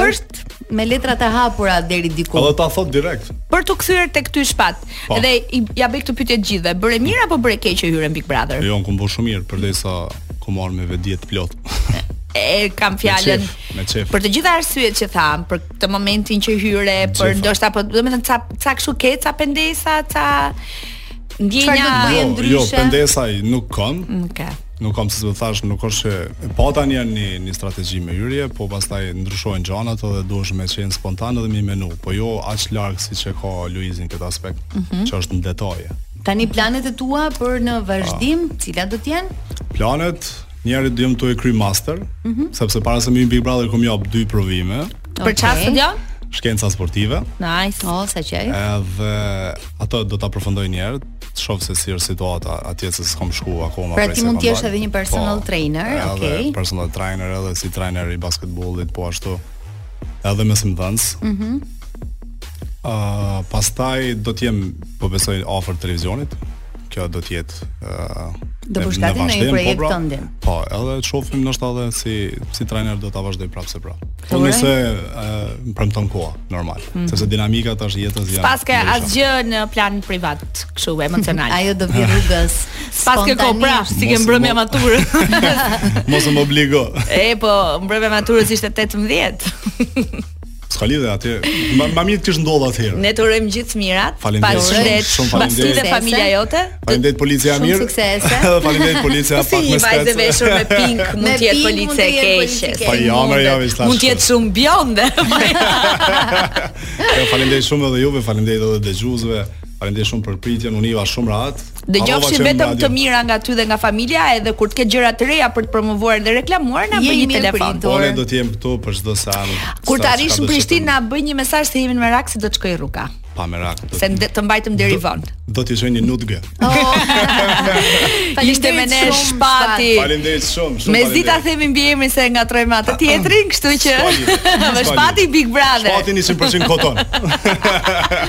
S5: është me letrat e hapura deri diku.
S4: Edhe ta thot direkt.
S2: Për të kthyer tek ty shpat.
S4: Po.
S2: Dhe i ja bëj këtë pyetje të gjithëve. Bëre mirë apo bëre keq që hyrën Big Brother?
S4: Jo, unë kumbo shumë mirë përderisa ku marr me vedie të plot.
S2: e kam fjalën
S4: qef, me qef.
S2: për të gjitha arsyet që tham, për këtë momentin që hyre, për
S4: qefa.
S2: ndoshta po do të thënë ca ca kështu ke, ca pendesa, ca
S5: Çfarë do të
S2: ndjenja.
S5: bëje?
S4: Jo,
S5: ndryshe.
S4: jo, pendesa i nuk kam.
S2: Okej.
S4: Nuk kam si të thash, nuk është që po tani janë një, një strategji me hyrje, po pastaj ndryshojnë gjanat edhe duhesh me qenë spontan edhe me menu, po jo aq larg siç e ka Luizin këtë aspekt, që është në detaje.
S5: Tani planet e tua për në vazhdim,
S4: Ah.
S5: cilat do të jenë?
S4: Planet, njëri do jem tu e kry master, sepse para se më hyj Big Brother kom jap dy provime,
S2: Për çfarë
S5: Okej.
S2: okay.
S4: shkenca sportive,
S2: Nice.
S5: O, sa qej.
S4: edhe ato do ta përfundoj një herë, të shoh se si është situata atje se s'kam shku akoma.
S5: Pra
S4: prej
S5: ti
S4: se
S5: mund
S4: kam
S5: t'jesh
S4: dalë. Po,
S5: edhe një personal trainer,
S4: edhe
S5: okay.
S4: personal trainer edhe si trainer i basketbollit, po ashtu. Edhe mesimdhënës. Mhm. Mm uh, pastaj do të jem po besoj afër televizionit. Kjo do të jetë ë uh,
S5: Do
S4: Me-
S5: bësh
S4: me
S5: gati në një
S4: vazhdim, po,
S5: projekt
S4: pra.
S5: tëndin.
S4: Po, edhe të shohim ndoshta edhe si si trajner do ta vazhdoj prapë se prapë. Po
S5: uroj.
S4: nëse e, më premton koha, normal,
S5: Mhm.
S4: sepse dinamika tash jetës janë.
S6: Pas ke
S4: ndryshe.
S6: asgjë në plan privat, kështu emocional.
S5: Ajo do vi rrugës.
S6: Pas ke ko pra,
S5: spontanisht.
S6: si ke
S4: Mos-
S6: mbrëmja
S4: mos-
S6: maturë.
S4: Mos më obligo.
S6: e po, mbrëmja maturës ishte 18.
S4: S'ka lidhje atje. Ma, ma mirë kish ndodh atëherë.
S2: Ne të urojmë gjithë të mirat.
S4: Faleminderit
S2: Faleminderit.
S4: shumë, shumë
S2: Basti
S4: faleminderit.
S2: dhe familja jote.
S4: Faleminderit policia
S5: Shumë
S4: mirë.
S5: suksese.
S4: Edhe Faleminderit policia
S2: Si
S4: pak
S2: një
S4: më
S2: vajzë e
S4: spec.
S2: veshur me pink
S5: Me
S2: mund të jetë
S5: pink mund
S2: police
S5: të
S2: e
S5: jetë police e
S2: keqe.
S4: Po
S5: keqe.
S4: ja, më ja, vesh tash.
S2: Mund të jetë shumë bjonde.
S4: Jo, Faleminderit shumë edhe juve, faleminderit edhe dëgjuesve. Faleminderit shumë për pritjen, unë iva shumë rahat. Harrova
S2: Dëgjofshin
S4: që
S2: vetëm
S4: radio-
S2: të mira nga ty dhe nga familja, edhe kur të ke gjëra të reja për të promovuar dhe reklamuar, na bëj
S5: Jemi
S2: një
S5: mirë
S2: telefon.
S5: pritur.
S4: Ole do të jem këtu për çdo seanë.
S2: Kur të
S4: Sa-
S2: arrish
S4: çka
S2: në
S4: do shkojmë.
S2: Prishtinë, na bëj një mesazh se jemi në merak se do të shkoj rruga.
S4: pa merak. do
S2: Se
S4: të-
S2: nde- të mbajtëm deri vonë.
S4: Do t'i shoj një nutgë.
S2: Ishte me ne
S5: Faleminderit Oh. shumë,
S2: shpati.
S4: Faleminderit shumë, shumë.
S2: Me zita themi mbi emrin se ngatrojmë atë tjetrin, kështu që
S4: Shpati.
S2: me shpati Big Brother.
S4: Shpati 100% koton.